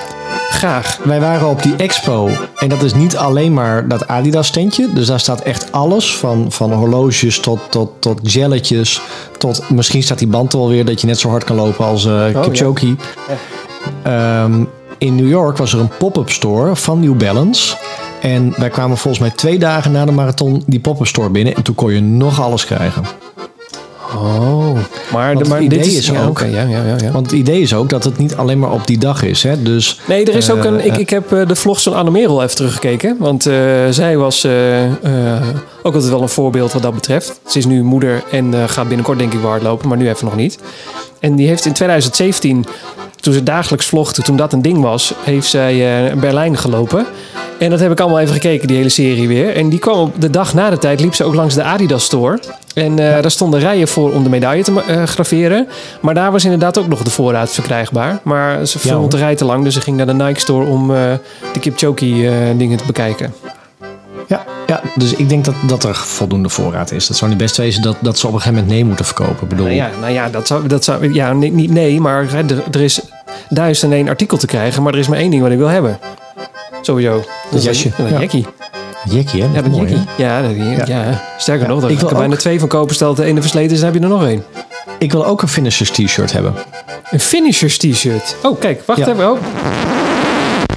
S1: graag.
S2: Wij waren op die expo en dat is niet alleen maar dat Adidas tentje. Dus daar staat echt alles van, van horloges tot, tot, tot gelletjes. Tot misschien staat die band wel weer dat je net zo hard kan lopen als eh
S1: ja.
S2: Kipchoge. Ehm, in New York was er een pop-up store van New Balance. En wij kwamen volgens mij twee dagen na de marathon die pop-up store binnen. En toen kon je nog alles krijgen.
S1: Oh. Maar, de,
S2: het
S1: maar
S2: idee
S1: dit is,
S2: is
S1: ja,
S2: ook-
S1: oké, ja, ja, ja, ja.
S2: Want het idee is ook dat het niet alleen maar op die dag is. Hè? Dus
S1: Nee, er is ook een.
S2: eh,
S1: Ik, ik heb eh, de vlogs van Anne Merel even teruggekeken. Want eh, zij was eh, eh, ook altijd wel een voorbeeld wat dat betreft. Ze is nu moeder en eh, gaat binnenkort denk ik weer hardlopen, maar nu even nog niet. En die heeft in 2017, toen ze dagelijks vlogde, toen dat een ding was, heeft zij eh, Berlijn gelopen. En dat heb ik allemaal even gekeken, die hele serie weer. En die kwam op de dag na de tijd, liep ze ook langs de Adidas Store. En eh, daar stonden rijen voor om de medaille te ma- eh, graveren. Maar daar was inderdaad ook nog de voorraad verkrijgbaar. Maar ze
S2: Ja,
S1: vond
S2: hoor.
S1: de rij te lang, dus ze ging naar de Nike Store om eh, de Kipchoge eh, dingen te bekijken.
S2: Ja, ja, dus ik denk dat, dat er voldoende voorraad is. Dat zou niet best wezen dat, dat ze op een gegeven moment nee moeten verkopen. Ik bedoel,
S1: Nou ja, nou ja, dat zou, dat zou, ja ni- niet nee, maar hè, er, er is duizend en één artikel te krijgen. Maar er is maar één ding wat ik wil hebben. Sowieso. Dat is
S2: jasje.
S1: een- Een
S2: Ja.
S1: jackie.
S2: Jekkie, hè?
S1: Ja,
S2: Dat
S1: dat
S2: is mooi, hè?
S1: jackie. Ja, dat, ja. sterker nog, daar
S2: ik
S1: kan
S2: wil
S1: er bijna
S2: ook-
S1: twee van kopen. Stel dat de ene versleten is, dan heb je er nog één.
S2: Ik wil ook een finishers t-shirt hebben.
S1: Een finishers t-shirt. Oh, kijk, wacht
S2: Ja.
S1: even. Oh.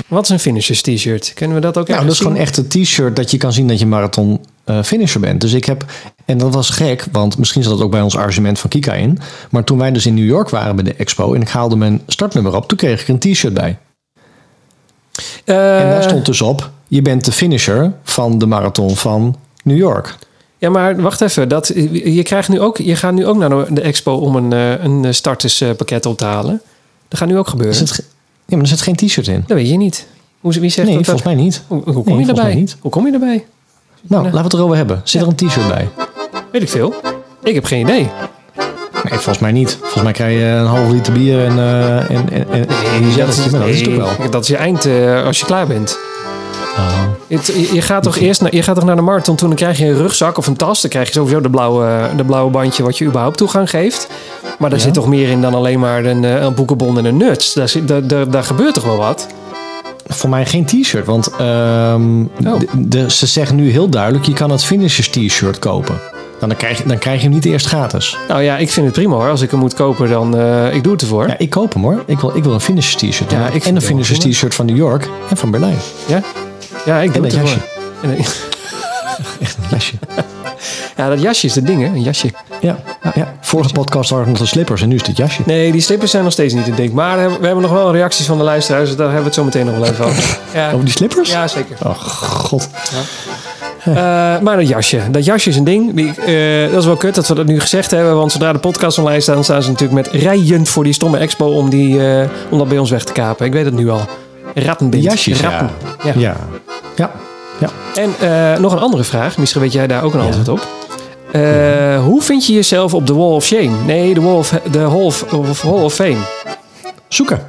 S1: Wat is een finishers t-shirt? Kunnen we dat ook
S2: Nou, dat
S1: ergens
S2: is gewoon echt een t-shirt dat je kan zien dat je marathon eh, finisher bent. Dus ik heb, en dat was gek, want misschien zat dat ook bij ons argument van Kika in. Maar toen wij dus in New York waren bij de expo en ik haalde mijn startnummer op, toen kreeg ik een t-shirt bij.
S1: zien?
S2: en daar
S1: Eh,
S2: stond dus op, je bent de finisher van de marathon van New York.
S1: Ja, maar wacht even. Dat, je, krijgt nu ook, je gaat nu ook naar de- de expo om een, eh, een starterspakket op te halen. Dat gaat nu ook gebeuren.
S2: Is het ge- ja, maar er zit geen t-shirt in.
S1: Dat weet je niet. Hoe, wie zegt
S2: Nee,
S1: dat? dat-
S2: volgens mij niet.
S1: Hoe, hoe kom
S2: Nee,
S1: je
S2: volgens
S1: daarbij?
S2: mij niet.
S1: Hoe kom je daarbij?
S2: Nou, laten we het erover hebben. Zit er een t-shirt bij?
S1: Weet ik veel. Ik heb geen idee.
S2: Nee, volgens mij niet. Volgens mij krijg je een half liter bier en, eh en, en, en, en je zet het je maar dat is toch wel.
S1: Nee, Dat is je eind eh, als je klaar bent.
S2: Oh.
S1: Het- je, je gaat toch eerst naar, je gaat toch naar de marathon, toen dan krijg je een rugzak of een tas. Dan krijg je sowieso de blauwe, de blauwe bandje wat je überhaupt toegang geeft. Maar daar zit toch meer in dan alleen maar een, eh, een boekenbon en een nuts. Daar, zit- daar, daar, daar gebeurt toch wel wat?
S2: Voor mij geen t-shirt, want ehm,
S1: Oh.
S2: de- de- ze zeggen nu heel duidelijk... je kan het finishers t-shirt kopen. Nou, Dan, dan, krijg, je- dan krijg je hem niet eerst gratis.
S1: Nou ja, ik vind het prima hoor. Als ik hem moet kopen, dan eh ik doe het ervoor.
S2: Ja, ik koop hem hoor. Ik wil, ik wil een finishers t-shirt.
S1: Ja,
S2: Ja,
S1: ik vind
S2: en een
S1: het wel
S2: finishers
S1: prima.
S2: t-shirt van New York en van Berlijn.
S1: Ja, ja ik doe
S2: En
S1: het
S2: een
S1: ervoor.
S2: jasje.
S1: En een-
S2: Echt een lesje.
S1: Ja, dat jasje is het ding hè, een jasje.
S2: ja, ja. Vorige podcast waren het nog de slippers en nu is dit jasje.
S1: Nee, die slippers zijn nog steeds niet het ding. Maar eh, we hebben nog wel reacties van de luisteraars. dus Daar hebben we het zo meteen nog wel even over. Ja,
S2: Over die slippers?
S1: ja zeker.
S2: Oh god.
S1: Eh, maar dat jasje. Dat jasje is een ding. Die, eh, dat is wel kut dat we dat nu gezegd hebben. Want zodra de podcast online staat, dan staan ze natuurlijk met rijen voor die stomme expo om, die, eh, om dat bij ons weg te kapen. Ik weet het nu al. Rattenbind.
S2: Die jasjes, ja.
S1: Ratten. Ja.
S2: Ja. Ja. ja.
S1: En eh, nog een andere vraag. Misschien weet jij daar ook een antwoord op. Eh, Hoe vind je jezelf op de Wall of Shame? Nee, de Wall of, de Hall of, of Hall of Fame.
S2: Zoeken.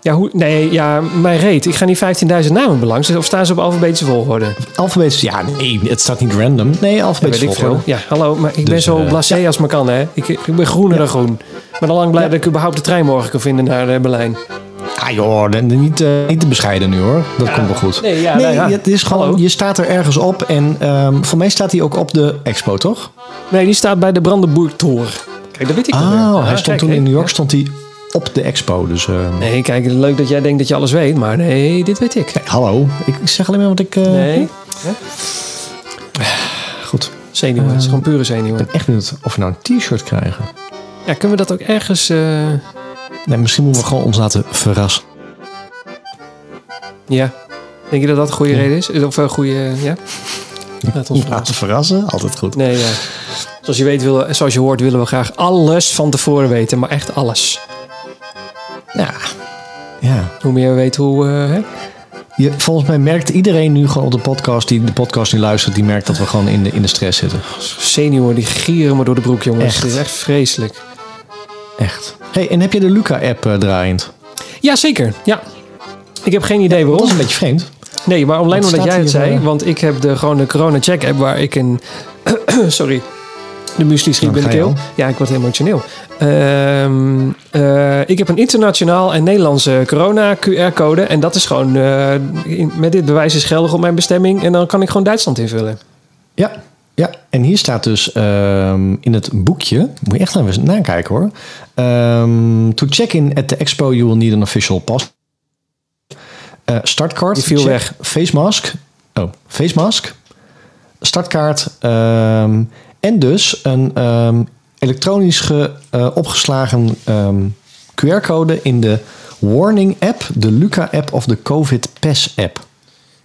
S1: Ja, hoe, nee, ja, mijn reet. Ik ga niet 15.000 namen belangs. Of staan ze op alfabetische volgorde?
S2: Alfabetisch. Ja, nee, het staat niet random. Nee,
S1: Ja, weet
S2: alfabetisch
S1: ik veel.
S2: volgorde.
S1: Ja, hallo, maar ik ben
S2: Dus,
S1: zo
S2: eh,
S1: blasé als maar kan, hè. Ik, ik ben groener
S2: Ja.
S1: dan groen. Ik ben al lang blij
S2: Ja.
S1: dat ik überhaupt de trein morgen kan vinden naar eh, Berlijn.
S2: Ah joh, dan- dan niet, eh, niet te bescheiden nu hoor. Dat komt wel goed.
S1: Nee, ja, nou ja.
S2: het is gewoon,
S1: Hallo.
S2: je staat er ergens op en ehm, voor mij staat hij ook op de expo, toch?
S1: Nee, die staat bij de Brandenburg-toren. Kijk, dat weet ik dan weer. Ah,
S2: Oh, hij stond
S1: kijk,
S2: toen
S1: hè.
S2: in New York stond hij op de expo. Dus ehm,
S1: Nee, kijk, leuk dat jij denkt dat je alles weet, maar nee, dit weet ik.
S2: hallo, ik ik zeg alleen maar wat ik... eh,
S1: Nee,
S2: Goed,
S1: zenuwen.
S2: Eh.
S1: Het is gewoon pure zenuwen.
S2: ik ben echt benieuwd of we nou een t-shirt krijgen.
S1: Ja, kunnen we dat ook ergens... eh,
S2: Nee, misschien moeten we gewoon ons laten verrassen.
S1: Ja. Denk je dat dat een goede reden is? Of een goede... Ja? Laat ons verrassen.
S2: Laten verrassen, altijd goed.
S1: Nee, ja. Zoals je, weet, willen, zoals je hoort willen we graag alles van tevoren weten. Maar echt alles.
S2: Ja, ja.
S1: Hoe meer we weten, hoe... eh, hè?
S2: Je, volgens mij merkt iedereen nu gewoon op de podcast, die de podcast nu luistert, die merkt dat we gewoon in de, in de stress zitten.
S1: Senioren die gieren maar door de broek, jongens.
S2: Echt.
S1: Het is echt vreselijk.
S2: Echt. hey, en heb je de Luca-app eh, draaiend?
S1: Ja, zeker. Ja. Ik heb geen idee
S2: Dat
S1: waarom.
S2: is een beetje vreemd.
S1: Nee, maar alleen
S2: Wat
S1: omdat
S2: staat
S1: jij het
S2: hier,
S1: zei.
S2: eh?
S1: Want ik heb de, gewoon de corona-check-app waar ik een... sorry. De muesli schiet
S2: Nou,
S1: binnen
S2: ga je
S1: keel. Ja, ik word emotioneel. Ehm, eh, ik heb een internationaal en Nederlandse corona-QR-code. En dat is gewoon... eh, in- met dit bewijs is geldig op mijn bestemming. En dan kan ik gewoon Duitsland invullen.
S2: Ja, ja. En hier staat dus ehm, in het boekje, moet je echt even nakijken hoor. Ehm, to check in at the expo, you will need an official pass. Eh, startkaart.
S1: Die viel
S2: check.
S1: weg.
S2: Face mask. Oh, face mask. Startkaart. ehm, en dus een ehm, elektronisch ge- eh, opgeslagen ehm, QR-code in de Warning app, de Luca app of de COVID PES app.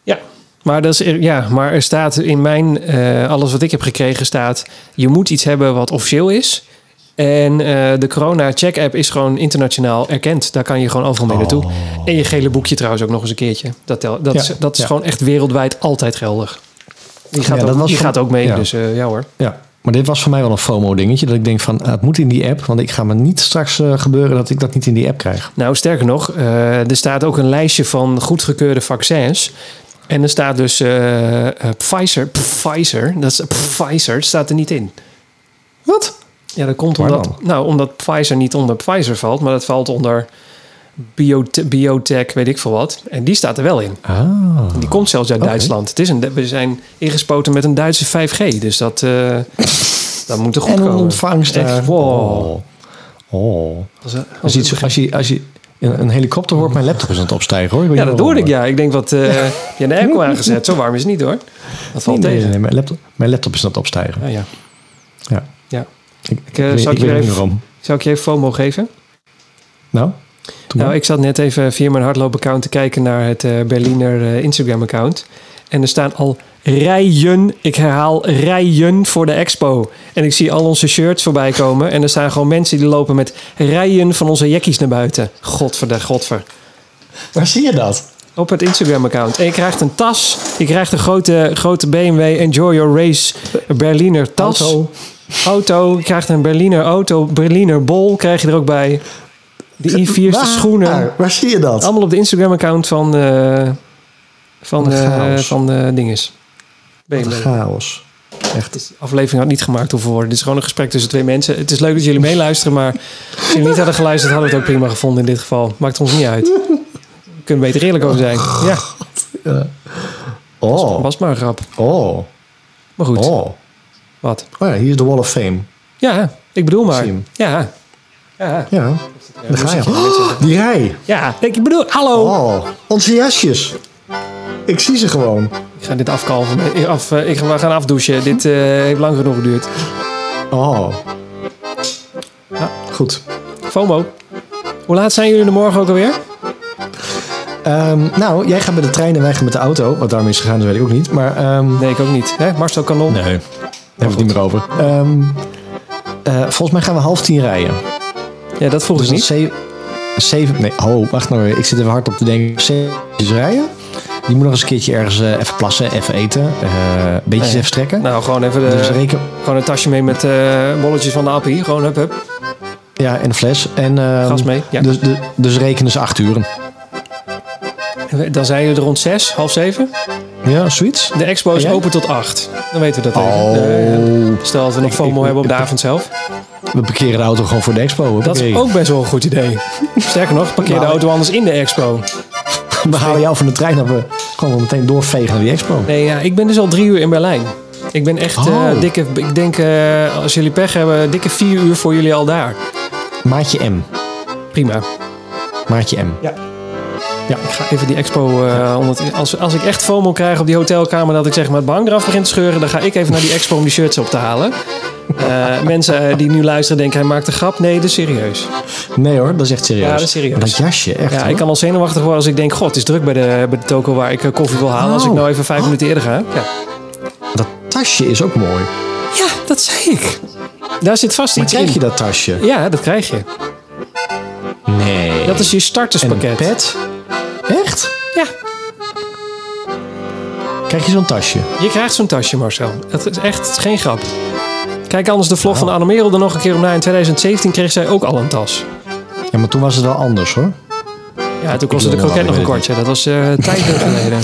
S1: Ja. Maar, dat is, ja, maar er staat in mijn, eh, alles wat ik heb gekregen, staat... je moet iets hebben wat officieel is. En eh, de corona-check-app is gewoon internationaal erkend. Daar kan je gewoon overal mee
S2: Oh.
S1: naartoe. En je gele boekje trouwens ook nog eens een keertje. Dat, tel, dat,
S2: Ja,
S1: is, dat is
S2: ja.
S1: gewoon echt wereldwijd altijd geldig. Die gaat,
S2: Ja,
S1: ook,
S2: dat was
S1: die
S2: van-
S1: gaat ook mee,
S2: ja.
S1: dus eh, ja hoor.
S2: Ja, maar dit was voor mij wel een FOMO-dingetje. Dat ik denk van, ah, het moet in die app. Want ik ga me niet straks eh, gebeuren dat ik dat niet in die app krijg.
S1: Nou, sterker nog, eh, er staat ook een lijstje van goedgekeurde vaccins. En er staat dus eh, eh, Pfizer. Pfizer, dat is Pfizer, het staat er niet in.
S2: Wat?
S1: Ja, dat komt
S2: Waar
S1: omdat, nou, omdat Pfizer niet onder Pfizer valt, maar dat valt onder biote- biotech, weet ik veel wat. En die staat er wel in.
S2: Ah.
S1: Die komt zelfs uit
S2: Oké.
S1: Duitsland. Het is een, we zijn ingespoten met een Duitse 5G, dus dat, eh, dat moet er goed
S2: En een
S1: komen.
S2: ontvangst
S1: Echt,
S2: daar.
S1: wow.
S2: Oh. Oh.
S1: Als- als-
S2: Als, je iets, als, je, als je een, een helikopter hoort, mijn laptop is aan het opstijgen hoor. Ik weet
S1: ja,
S2: niet
S1: dat
S2: waarom,
S1: hoorde ik.
S2: hoor.
S1: Ja, ik denk wat. eh heb je een airco aangezet? Zo warm is het niet hoor. Dat valt
S2: Nee, nee,
S1: tegen.
S2: nee, mijn, laptop, mijn laptop is aan het opstijgen.
S1: Ja, ja.
S2: Ja.
S1: Ja.
S2: Ik,
S1: eh,
S2: weet-
S1: zal ik
S2: ik
S1: weer
S2: weet niet
S1: even-
S2: waarom.
S1: Zou ik je even FOMO geven?
S2: Nou, doe
S1: Nou,
S2: maar.
S1: ik zat net even via mijn hardloop-account te kijken naar het eh, Berliner eh, Instagram-account. En er staan al rijen, ik herhaal rijen voor de expo. En ik zie al onze shirts voorbij komen. En er staan gewoon mensen die lopen met rijen van onze jackies naar buiten. Godver de godver.
S2: Waar zie je dat?
S1: Op het Instagram-account. En je krijgt een tas. Je krijgt een grote, grote BMW Enjoy Your Race Berliner tas.
S2: Auto.
S1: Auto. Je krijgt een Berliner auto. Berliner bol krijg je er ook bij. De i4's, de
S2: Waar?
S1: schoenen.
S2: Waar zie je dat?
S1: Allemaal op de Instagram-account van, eh van,
S2: Wat een
S1: eh,
S2: chaos.
S1: van eh, dinges. BMW.
S2: Wat chaos.
S1: Het is- de aflevering had niet gemaakt hoeven worden. Dit is gewoon een gesprek tussen twee mensen. Het is leuk dat jullie meeluisteren, maar als jullie niet hadden geluisterd, hadden we het ook prima gevonden in dit geval. Maakt ons niet uit. We kunnen beter eerlijk over zijn. Ja,
S2: Oh,
S1: was maar een grap.
S2: oh,
S1: Maar goed,
S2: oh. Oh
S1: wat?
S2: ja, hier is de Wall of Fame.
S1: Ja, ik bedoel maar.
S2: Zie hem.
S1: Ja. Ja.
S2: Ja, daar ga je. Oh, die rij.
S1: Ja, denk ik bedoel, hallo.
S2: Oh, onze jasjes. Ik zie ze gewoon.
S1: Ik ga dit afkalven. Eh, Af, eh, ik ga, we gaan afdouchen. Dit eh, heeft lang genoeg geduurd.
S2: Oh. Goed.
S1: FOMO. Hoe laat zijn jullie er morgen ook alweer?
S2: Ehm, nou, jij gaat met de trein en wij gaan met de auto. Wat daarmee is gegaan, dat weet ik ook niet. Maar ehm
S1: Nee, ik ook niet. Hè? Marcel Kanon.
S2: Nee, daar hebben we het niet meer over. Ehm, eh, volgens mij gaan we half tien rijden.
S1: Ja, dat vroeg ik
S2: Dus dat
S1: niet.
S2: zeven, zeven... Nee, oh, wacht nou even. Ik zit even hard op te denken. Zeven uurtjes rijden. Die moet nog eens een keertje ergens eh, even plassen, even eten. eh beetjes
S1: Nee.
S2: even strekken.
S1: Nou, gewoon even de,
S2: dus reken...
S1: gewoon een tasje mee met eh, bolletjes van de appie. Gewoon hup, hup.
S2: Ja, en een fles. En, ehm,
S1: Gas mee, ja.
S2: Dus, de- dus rekenen ze acht uren.
S1: Dan zijn jullie er rond zes, half zeven.
S2: Oh, Ja, zoiets.
S1: De expo
S2: En
S1: is
S2: jij?
S1: open tot acht. Dan weten we dat
S2: Oh.
S1: even. Eh, stel dat we nog FOMO
S2: ik-
S1: hebben op de
S2: ik-
S1: avond zelf.
S2: We parkeren de auto gewoon voor de expo.
S1: Dat is
S2: Hoppakee.
S1: ook best wel een goed idee. Sterker nog, parkeer de
S2: Nou,
S1: auto anders in de expo.
S2: We halen jou van de trein en we gewoon wel meteen doorvegen naar die expo.
S1: Nee, ja, ik ben dus al drie uur in Berlijn. Ik ben echt
S2: Oh.
S1: eh, dikke, ik denk eh, als jullie pech hebben, dikke vier uur voor jullie al daar.
S2: Maatje M.
S1: Prima.
S2: Maatje M.
S1: Ik ga even die expo, eh, onder- als, als ik echt FOMO krijg op die hotelkamer dat ik zeg maar het behang eraf begint te scheuren, dan ga ik even naar die expo om die shirts op te halen. Eh, mensen eh, die nu luisteren denken, hij maakt een grap. Nee, dat is serieus.
S2: Nee hoor, dat is echt serieus.
S1: Ja, dat is serieus.
S2: Maar dat jasje, echt.
S1: Ja,
S2: hoor.
S1: ik kan al zenuwachtig worden als ik denk, god, het is druk bij de, bij de toko waar ik eh, koffie wil halen. Als ik
S2: Oh.
S1: nou even vijf minuten eerder ga. Ja.
S2: Dat tasje is ook mooi.
S1: Ja, dat zei ik. Daar zit vast
S2: Maar
S1: iets in.
S2: krijg je dat tasje?
S1: Ja, dat krijg je.
S2: Nee.
S1: Dat is je
S2: en een
S1: starterspakket.
S2: pet? Echt?
S1: Ja,
S2: Krijg je zo'n tasje?
S1: je krijgt zo'n tasje, Marcel. Het is echt het is geen grap. Kijk anders de vlog van Anne Merel er nog een keer om na. In 2017 kreeg zij ook al een tas.
S2: Ja, maar toen was het wel anders hoor.
S1: Ja, toen kostte
S2: wil
S1: de
S2: hem
S1: kroket nog
S2: al,
S1: een
S2: ik weet
S1: kwartje. Dat was eh tijden geleden.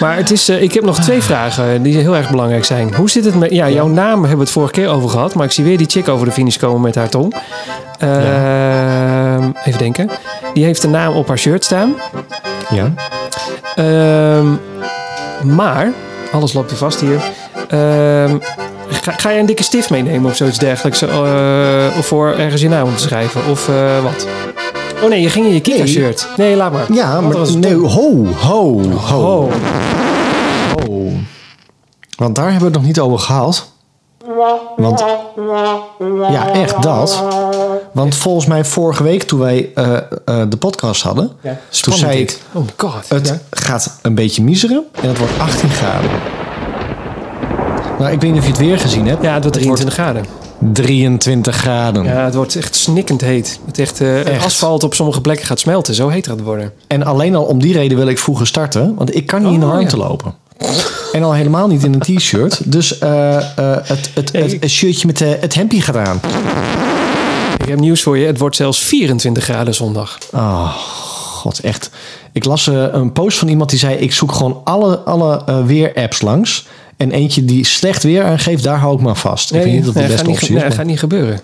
S1: Maar het is, eh, ik heb nog
S2: Ah.
S1: twee vragen die heel erg belangrijk zijn. Hoe zit het met... Ja, jouw naam hebben we het vorige keer over gehad. Maar ik zie weer die chick over de finish komen met haar tong. Eh, Even denken. Die heeft de naam op haar shirt staan.
S2: Ja.
S1: Ehm, maar, alles loopt weer vast hier. Ehm, ga, ga je een dikke stift meenemen of zoiets dergelijks? eh, Of voor ergens je naam om te schrijven? Of eh, wat? Oh nee, je ging in je
S2: Nee.
S1: Kika-shirt. Nee. laat maar.
S2: Ja,
S1: Want
S2: maar...
S1: dat was
S2: nee, ho, ho, ho,
S1: Oh,
S2: ho. Want daar hebben we het nog niet over gehad. Want ja, echt dat. Want volgens mij vorige week toen wij eh, eh, de podcast hadden, toen zei ik,
S1: Oh my god.
S2: het
S1: Ja.
S2: gaat een beetje miseren en het wordt 18 graden. Nou, ik weet niet of je het weer gezien hebt.
S1: Ja, het wordt
S2: Het wordt
S1: 23 graden.
S2: 23 graden.
S1: Ja, het wordt echt snikkend heet. Het echt, eh, het
S2: Echt.
S1: asfalt op sommige plekken gaat smelten. Zo heet gaat het worden.
S2: En alleen al om die reden wil ik vroeger starten, want ik kan niet in de
S1: Oh,
S2: warmte
S1: ja.
S2: lopen. En al helemaal niet in een t-shirt. Dus eh, eh, het, het, het, het shirtje met eh, het hempje gaat aan.
S1: Ik heb nieuws voor je. Het wordt zelfs 24 graden zondag.
S2: Oh, god, echt. Ik las eh, een post van iemand die zei... ik zoek gewoon alle, alle eh, weer-apps langs. En eentje die slecht weer aangeeft, daar hou ik me aan vast. ik weet niet of dat de
S1: nee,
S2: beste
S1: gaat,
S2: optie
S1: niet,
S2: is.
S1: nee,
S2: maar-
S1: gaat niet gebeuren.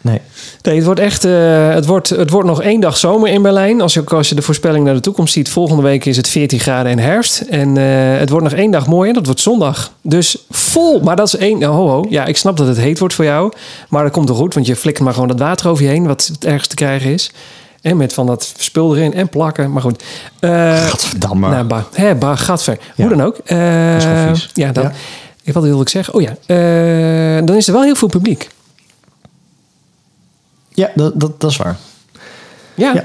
S2: nee.
S1: Nee, het wordt echt. eh, het, wordt, het wordt nog één dag zomer in Berlijn. Als je, ook als je de voorspelling naar de toekomst ziet, volgende week is het 14 graden en herfst. En eh, het wordt nog één dag mooi en dat wordt zondag. Dus vol. Maar dat is één. nou, ho, ho. Ja, ik snap dat het heet wordt voor jou. Maar dat komt toch goed, want je flikkert maar gewoon dat water over je heen, wat het ergste te krijgen is. En met van dat spul erin en plakken. Maar goed. Eh
S2: Gadverdamme.
S1: nou, bah, hè, bah, gadver.
S2: Ja.
S1: Hoe dan ook. Eh,
S2: is gewoon vies.
S1: ja, dan,
S2: Ja.
S1: Ik, wat wilde ik zeggen? Oh ja, eh, dan is er wel heel veel publiek.
S2: ja, dat, dat, dat is waar.
S1: Ja,
S2: Ja.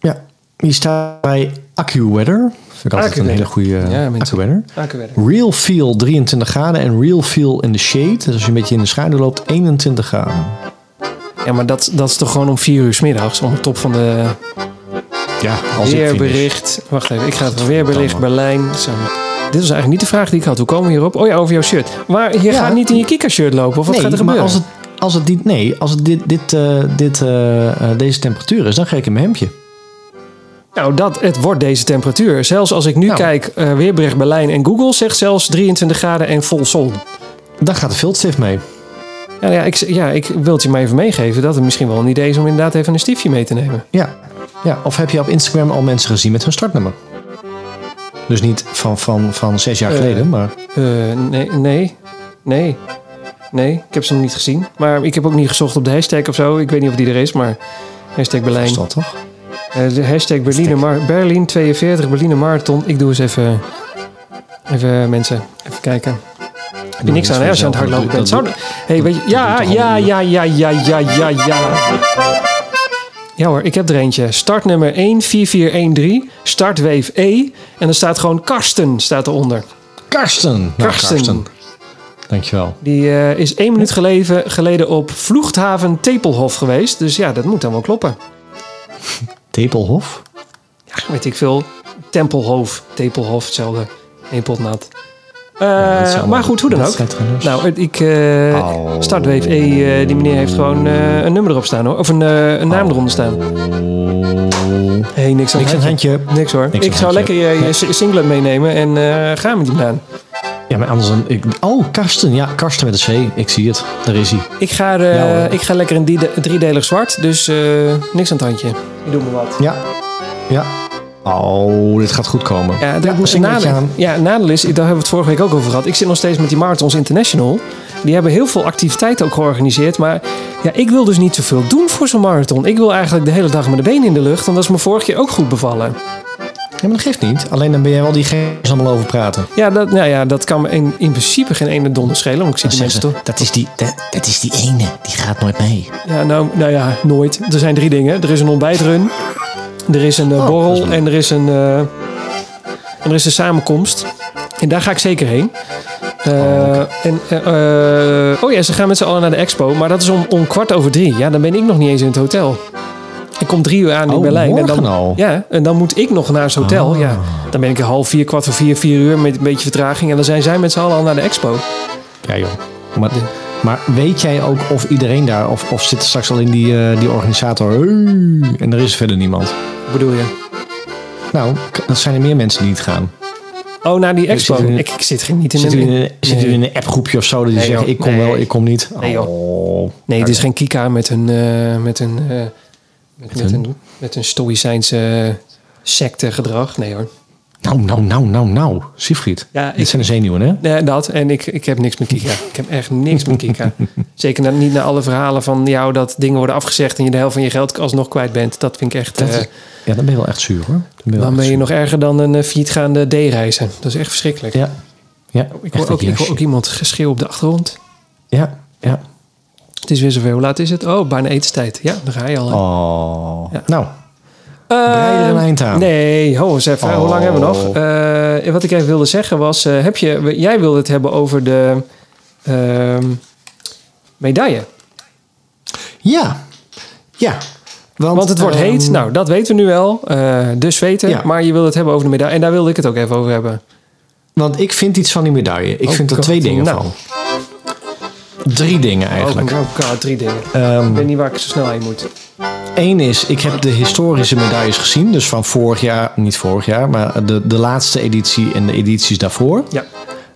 S2: Ja. Hier staat bij AccuWeather. Vind ik altijd een
S1: AccuWeather.
S2: hele goede eh,
S1: Ja, mensen.
S2: AccuWeather.
S1: Dank u wel.
S2: Real feel 23 graden en real feel in the shade. Dus als je een beetje in de schaduw loopt, 21 graden.
S1: Ja, maar dat, dat is toch gewoon om vier uur 's middags om de top van de
S2: Ja, als ik finish.
S1: weerbericht. Wacht even, ik ga het weerbericht Berlijn. Zo. Dit was eigenlijk niet de vraag die ik had. Hoe komen we hierop? Oh ja, over jouw shirt. Maar je
S2: Ja.
S1: gaat niet in je kika-shirt lopen, of wat
S2: nee,
S1: gaat er
S2: maar
S1: gebeuren?
S2: als het, als het niet, nee, als het dit, dit, eh, dit, eh, eh, deze temperatuur is, dan ga ik in mijn hemdje.
S1: Nou, dat, het wordt deze temperatuur. Zelfs als ik nu
S2: Nou.
S1: kijk, eh, weerbericht Berlijn en Google zegt zelfs 23 graden en vol zon.
S2: Dan gaat de viltstift mee.
S1: Ja, ja, ik, ja, ik wil het je maar even meegeven dat het misschien wel een idee is om inderdaad even een stiefje mee te nemen.
S2: Ja. ja. Of heb je op Instagram al mensen gezien met hun startnummer? Dus niet van, van, van zes jaar
S1: Eh.
S2: geleden, maar
S1: Eh, nee, nee, nee, nee. Ik heb ze nog niet gezien. Maar ik heb ook niet gezocht op de hashtag of zo. Ik weet niet of die er is, maar hashtag Berlijn.
S2: is dat toch?
S1: Eh, de hashtag Berliner Mar- Berlin 42, Berliner Marathon. Ik doe eens even, even mensen, even kijken. Heb je niks aan hè, als je aan het hardlopen bent. Zou, hey, weet je, ja,
S2: doe je toch
S1: ja,
S2: al een
S1: ja, ja, ja, ja, ja, ja. Ja hoor, ik heb er eentje. Startnummer 14413, startweef E. En er staat gewoon Karsten staat eronder.
S2: Karsten. Nou,
S1: Karsten.
S2: Dankjewel.
S1: Die eh, is één minuut geleden, geleden op Vloegthaven Tepelhof geweest. Dus ja, dat moet dan wel kloppen.
S2: Tepelhof?
S1: Ja, weet ik veel. Tempelhof, Tepelhof, hetzelfde. Eén pot nat. Eh,
S2: dat zijn allemaal
S1: maar goed, hoe dan ook.
S2: wedstrijdrenners.
S1: Nou, het- ik eh
S2: Au.
S1: startweef E, eh, die meneer heeft gewoon eh, een nummer erop staan hoor. Of een, eh, een naam eronder staan.
S2: Oh.
S1: Hé, hey, niks aan
S2: Niks aan het
S1: handje.
S2: handje.
S1: Niks hoor.
S2: Niks aan
S1: ik zou
S2: handje.
S1: lekker eh, je, je si- singlet meenemen en eh ga met die naam.
S2: Ja, maar anders dan... Ik, oh, Karsten. Ja, Karsten met een C. Ik zie het. Daar is hij.
S1: Ik ga, eh,
S2: Ja, hoor.
S1: ik ga lekker in die, driedelig zwart, dus eh, niks aan het handje. Je doet me wat.
S2: Ja. Ja. Oh, dit gaat goed komen.
S1: Ja, dat
S2: een singletje
S1: nadeel,
S2: aan.
S1: ja, het nadeel is, daar hebben we het vorige week ook over gehad. Ik zit nog steeds met die Marathons International. Die hebben heel veel activiteiten ook georganiseerd. Maar ja, ik wil dus niet zoveel doen voor zo'n marathon. Ik wil eigenlijk de hele dag met de benen in de lucht. En dat is me vorig keer ook goed bevallen.
S2: Ja, maar dat geeft niet. Alleen dan ben jij wel diegene waar ze allemaal over praten.
S1: Ja, dat, nou ja, dat kan me in, in principe geen ene donder schelen. Want ik zie die mensen toch...
S5: Dat is, die, dat, dat is die ene, die gaat nooit mee.
S1: Ja, nou, nou ja, nooit. Er zijn drie dingen. Er is een ontbijtrun. Er is
S2: Oh,
S1: een eh, borrel. en, er is een, eh, en er is een samenkomst. En daar ga ik zeker heen. Eh,
S2: Oh,
S1: en, eh, eh, oh ja, ze gaan met z'n allen naar de expo. Maar dat is om, om kwart over drie. Ja, dan ben ik nog niet eens in het hotel. Ik kom drie uur aan in
S2: Oh,
S1: Berlijn. en
S2: morgen
S1: dan,
S2: al? Ah.
S1: Ja, en dan moet ik nog naar het hotel. Ja, dan ben ik een half vier, kwart voor vier, vier uur met een beetje vertraging. En dan zijn zij met z'n allen al naar de expo.
S2: Ja, joh. Maar, maar weet jij ook of iedereen daar... Of, of zit er straks alleen die, eh, die organisator... "Hey," en er is verder niemand.
S1: Wat bedoel je?
S2: Nou, k- dan zijn er meer mensen die niet gaan.
S1: Oh, naar die expo.
S2: zit u in-
S1: ik, ik zit geen niet in
S2: Zit
S1: een...
S2: u in een, zit u
S1: Nee.
S2: in een appgroepje of zo dat die
S1: Nee,
S2: zeggen...
S1: joh.
S2: ik kom
S1: Nee.
S2: wel, ik kom niet.
S1: Nee, joh.
S2: Oh.
S1: Nee, het is geen Kika met een, eh, met een, eh, met, met een, met een stoïcijnse sectegedrag. Nee hoor.
S2: Nou, nou, nou, nou, nou. Siegfried.
S1: Ja, ik-
S2: Dit zijn de zenuwen, hè?
S1: Nee, dat en ik, ik heb niks met Kika. Ik heb echt niks met Kika. Zeker na- niet na alle verhalen van jou dat dingen worden afgezegd en je de helft van je geld alsnog kwijt bent. Dat vind ik echt.
S2: Dat
S1: eh,
S2: is- ja, dan ben je wel echt zuur, hoor. Dan ben je, wel
S1: dan
S2: echt
S1: ben je
S2: zuur.
S1: nog erger dan een eh, faillietgaande D-reizen. Dat is echt verschrikkelijk.
S2: Ja. Ja,
S1: Ik
S2: echt
S1: hoor, ook,
S2: een
S1: ik hoor ook
S2: jasje.
S1: iemand geschreeuw op de achtergrond.
S2: Ja, ja.
S1: Het is weer zover. Hoe laat is het? Oh, bijna etenstijd. Ja, daar ga je al. hè.
S2: Oh.
S1: Ja.
S2: Nou,
S1: Eh,
S2: breid er een eind aan.
S1: Nee, ho eens even. Hoe lang hebben we nog?
S2: Oh.
S1: Eh, wat ik even wilde zeggen was... eh, heb je, we- jij wilde het hebben over de ehm, medaille.
S2: Ja. Ja. Want,
S1: Want het wordt
S2: ehm,
S1: heet. Nou, dat weten we nu wel. eh dus weten.
S2: Ja.
S1: Maar je wilde het hebben over de medaille. En daar wilde ik het ook even over hebben.
S2: Want ik vind iets van die medaille. Ik
S1: Oh
S2: vind er
S1: God,
S2: twee dingen
S1: nou.
S2: van. Drie dingen eigenlijk.
S1: Oh, oh god, drie dingen.
S2: Ehm,
S1: Ik weet niet waar ik zo snel heen moet.
S2: Eén is, ik heb de historische medailles gezien. Dus van vorig jaar, niet vorig jaar, maar de, de laatste editie en de edities daarvoor.
S1: Ja.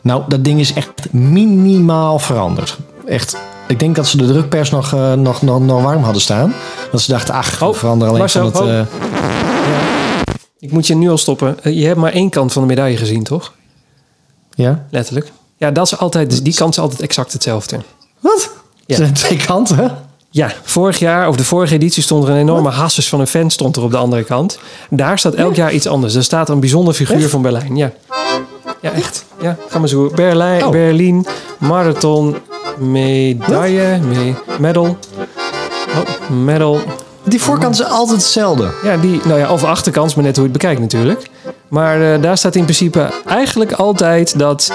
S2: Nou, dat ding is echt minimaal veranderd. Echt, ik denk dat ze de drukpers nog, eh, nog, nog, nog warm hadden staan. Dat ze dachten, ach, we
S1: Oh,
S2: veranderen alleen
S1: Marcel,
S2: van het...
S1: oh.
S2: eh,
S1: Ik moet je nu al stoppen. Eh, Je hebt maar één kant van de medaille gezien, toch?
S2: ja?
S1: Letterlijk. Ja, dat is altijd, die kant is altijd exact hetzelfde.
S2: Wat?
S1: Ja.
S2: Er zijn twee kanten.
S1: Ja, vorig jaar, of de vorige editie, stond er een enorme hasses van een fan stond er op de andere kant. Daar staat elk jaar iets anders. Er staat een bijzonder figuur van Berlijn. Ja, ja echt. Ja, ga maar zoeken. Berlijn,
S2: Oh.
S1: Berlien, marathon, medaille, me, medal. Oh, medal.
S2: Die voorkant is altijd hetzelfde.
S1: Ja, die, nou ja, of achterkant, maar net hoe je het bekijkt natuurlijk. Maar eh, daar staat in principe eigenlijk altijd dat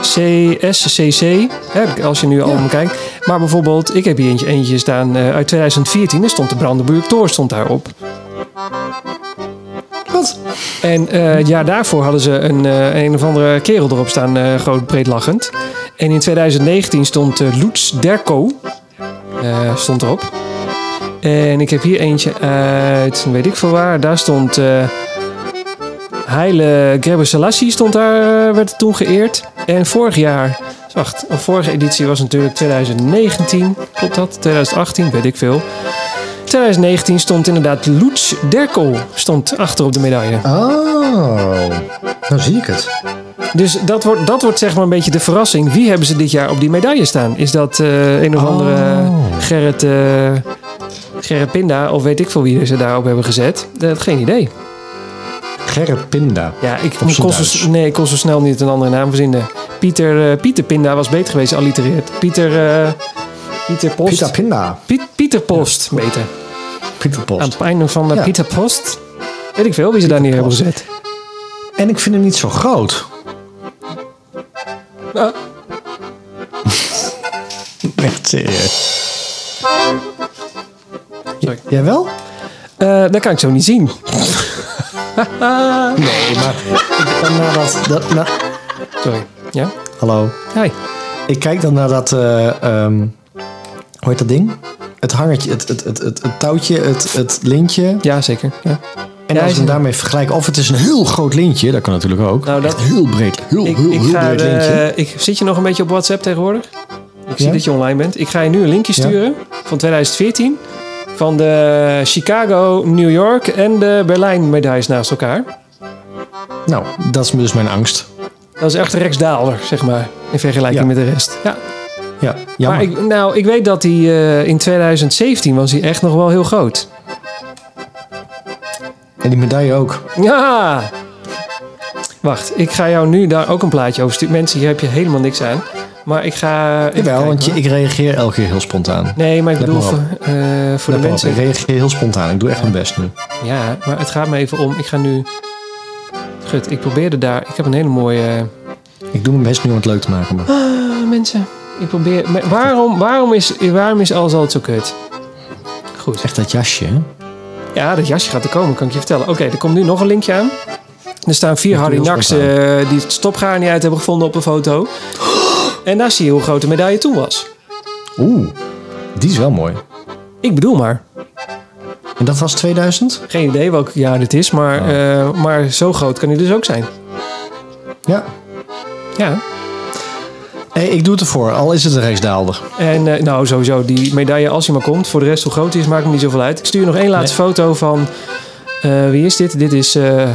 S1: CSCC, hè, als je nu al om kijkt. Maar bijvoorbeeld, ik heb hier eentje, eentje staan eh, uit 2014, er stond de Brandenburg Tor stond daarop.
S2: Wat?
S1: En eh, het jaar daarvoor hadden ze een, eh, een of andere kerel erop staan, eh, groot breed lachend. En in 2019 stond eh Loets Derko eh, stond erop. En ik heb hier eentje uit, weet ik veel waar, daar stond eh Heile Gerber Selassie stond daar, eh, werd toen geëerd. En vorig jaar, wacht, de vorige editie was natuurlijk 2019, klopt dat? 2018, weet ik veel. 2019 stond inderdaad Loets Derko stond achter op de medaille.
S2: Oh, nou zie ik het.
S1: Dus dat wordt, dat wordt zeg maar een beetje de verrassing. Wie hebben ze dit jaar op die medaille staan? Is dat eh, een of
S2: Oh.
S1: andere Gerrit, eh, Gerrit Pinda of weet ik veel wie ze daarop hebben gezet? Eh, geen idee.
S2: Gerrit Pinda.
S1: Ja, ik
S2: Op z'n
S1: kon zo,
S2: Duits.
S1: s- nee, ik kon zo snel niet een andere naam verzinnen. Pieter, eh, Pieter Pinda was beter geweest, allitereerd. Pieter, eh, Pieter Post.
S2: Pieter Pinda.
S1: Piet- Pieter Post, beter.
S2: Pieter Post.
S1: Aan het einde van eh,
S2: Ja.
S1: Pieter Post. Weet ik veel wie ze daar neer hebben
S2: Post.
S1: gezet.
S2: En ik vind hem niet zo groot.
S1: Ah.
S2: Echt eh. serieus.
S1: Sorry.
S2: Jij wel?
S1: Eh, dat kan ik zo niet zien.
S2: Nee, maar ik ben naar dat... dat na-
S1: Sorry. Ja?
S2: Hallo.
S1: Hi.
S2: Ik kijk dan naar dat... eh, ehm, hoe heet dat ding? Het hangertje, het, het, het, het, het touwtje, het, het lintje.
S1: Ja, zeker. Ja.
S2: En
S1: Ja,
S2: als
S1: is-
S2: we hem daarmee vergelijken, of het is een heel groot lintje, dat kan natuurlijk ook.
S1: Nou, dat-
S2: Echt heel breed, heel,
S1: Ik,
S2: heel,
S1: ik
S2: heel
S1: ga
S2: breed
S1: de-
S2: lintje.
S1: ik, zit je nog een beetje op WhatsApp tegenwoordig? Ik zie
S2: Ja.
S1: dat je online bent. Ik ga je nu een linkje
S2: Ja.
S1: sturen van 2014. Van de Chicago, New York en de Berlijn medailles naast elkaar.
S2: Nou, dat is dus mijn angst.
S1: Dat is echt een rechtsdaalder, zeg maar. In vergelijking
S2: Ja.
S1: met de rest. Ja.
S2: Ja, jammer.
S1: Maar ik, nou, ik weet dat hij eh, in 2017 was hij echt nog wel heel groot.
S2: En die medaille ook.
S1: Ja! Wacht, ik ga jou nu daar ook een plaatje over sturen. Mensen, hier heb je helemaal niks aan. Maar ik ga... even
S2: Jawel,
S1: kijken,
S2: want je,
S1: hoor.
S2: ik reageer elke keer heel spontaan.
S1: Nee, maar ik
S2: Let
S1: bedoel
S2: maar op.
S1: voor, eh, voor de
S2: Let maar op,
S1: mensen...
S2: Ik reageer heel spontaan. Ik doe echt mijn best nu.
S1: Ja, maar het gaat me even om. Ik ga nu. Gut, ik probeerde daar. Ik heb een hele mooie. eh,
S2: Ik doe mijn best nu om het leuk te maken. Maar...
S1: Ah, mensen. Ik probeer. maar waarom, waarom is, waarom is alles altijd zo kut? Goed.
S2: Echt dat jasje, hè?
S1: Ja, dat jasje gaat er komen, kan ik je vertellen. Oké, er komt nu nog een linkje aan. Er staan vier
S2: Dat
S1: Harry
S2: doe je
S1: Naks
S2: ons nog
S1: eh, die het stopgaar niet uit hebben gevonden op een foto. En daar zie je hoe groot de medaille toen was.
S2: Oeh, die is wel mooi.
S1: Ik bedoel maar.
S2: En dat was 2000?
S1: Geen idee welk jaar dit is, maar, eh, maar zo groot kan hij dus ook zijn.
S2: Ja.
S1: Ja.
S2: Hey, ik doe het ervoor, al is het een racedaalder.
S1: En eh, nou, sowieso, die medaille, als hij maar komt. Voor de rest, hoe groot die is, maakt me niet zoveel uit. Ik stuur nog één laatste foto van... eh, wie is dit? Dit is eh,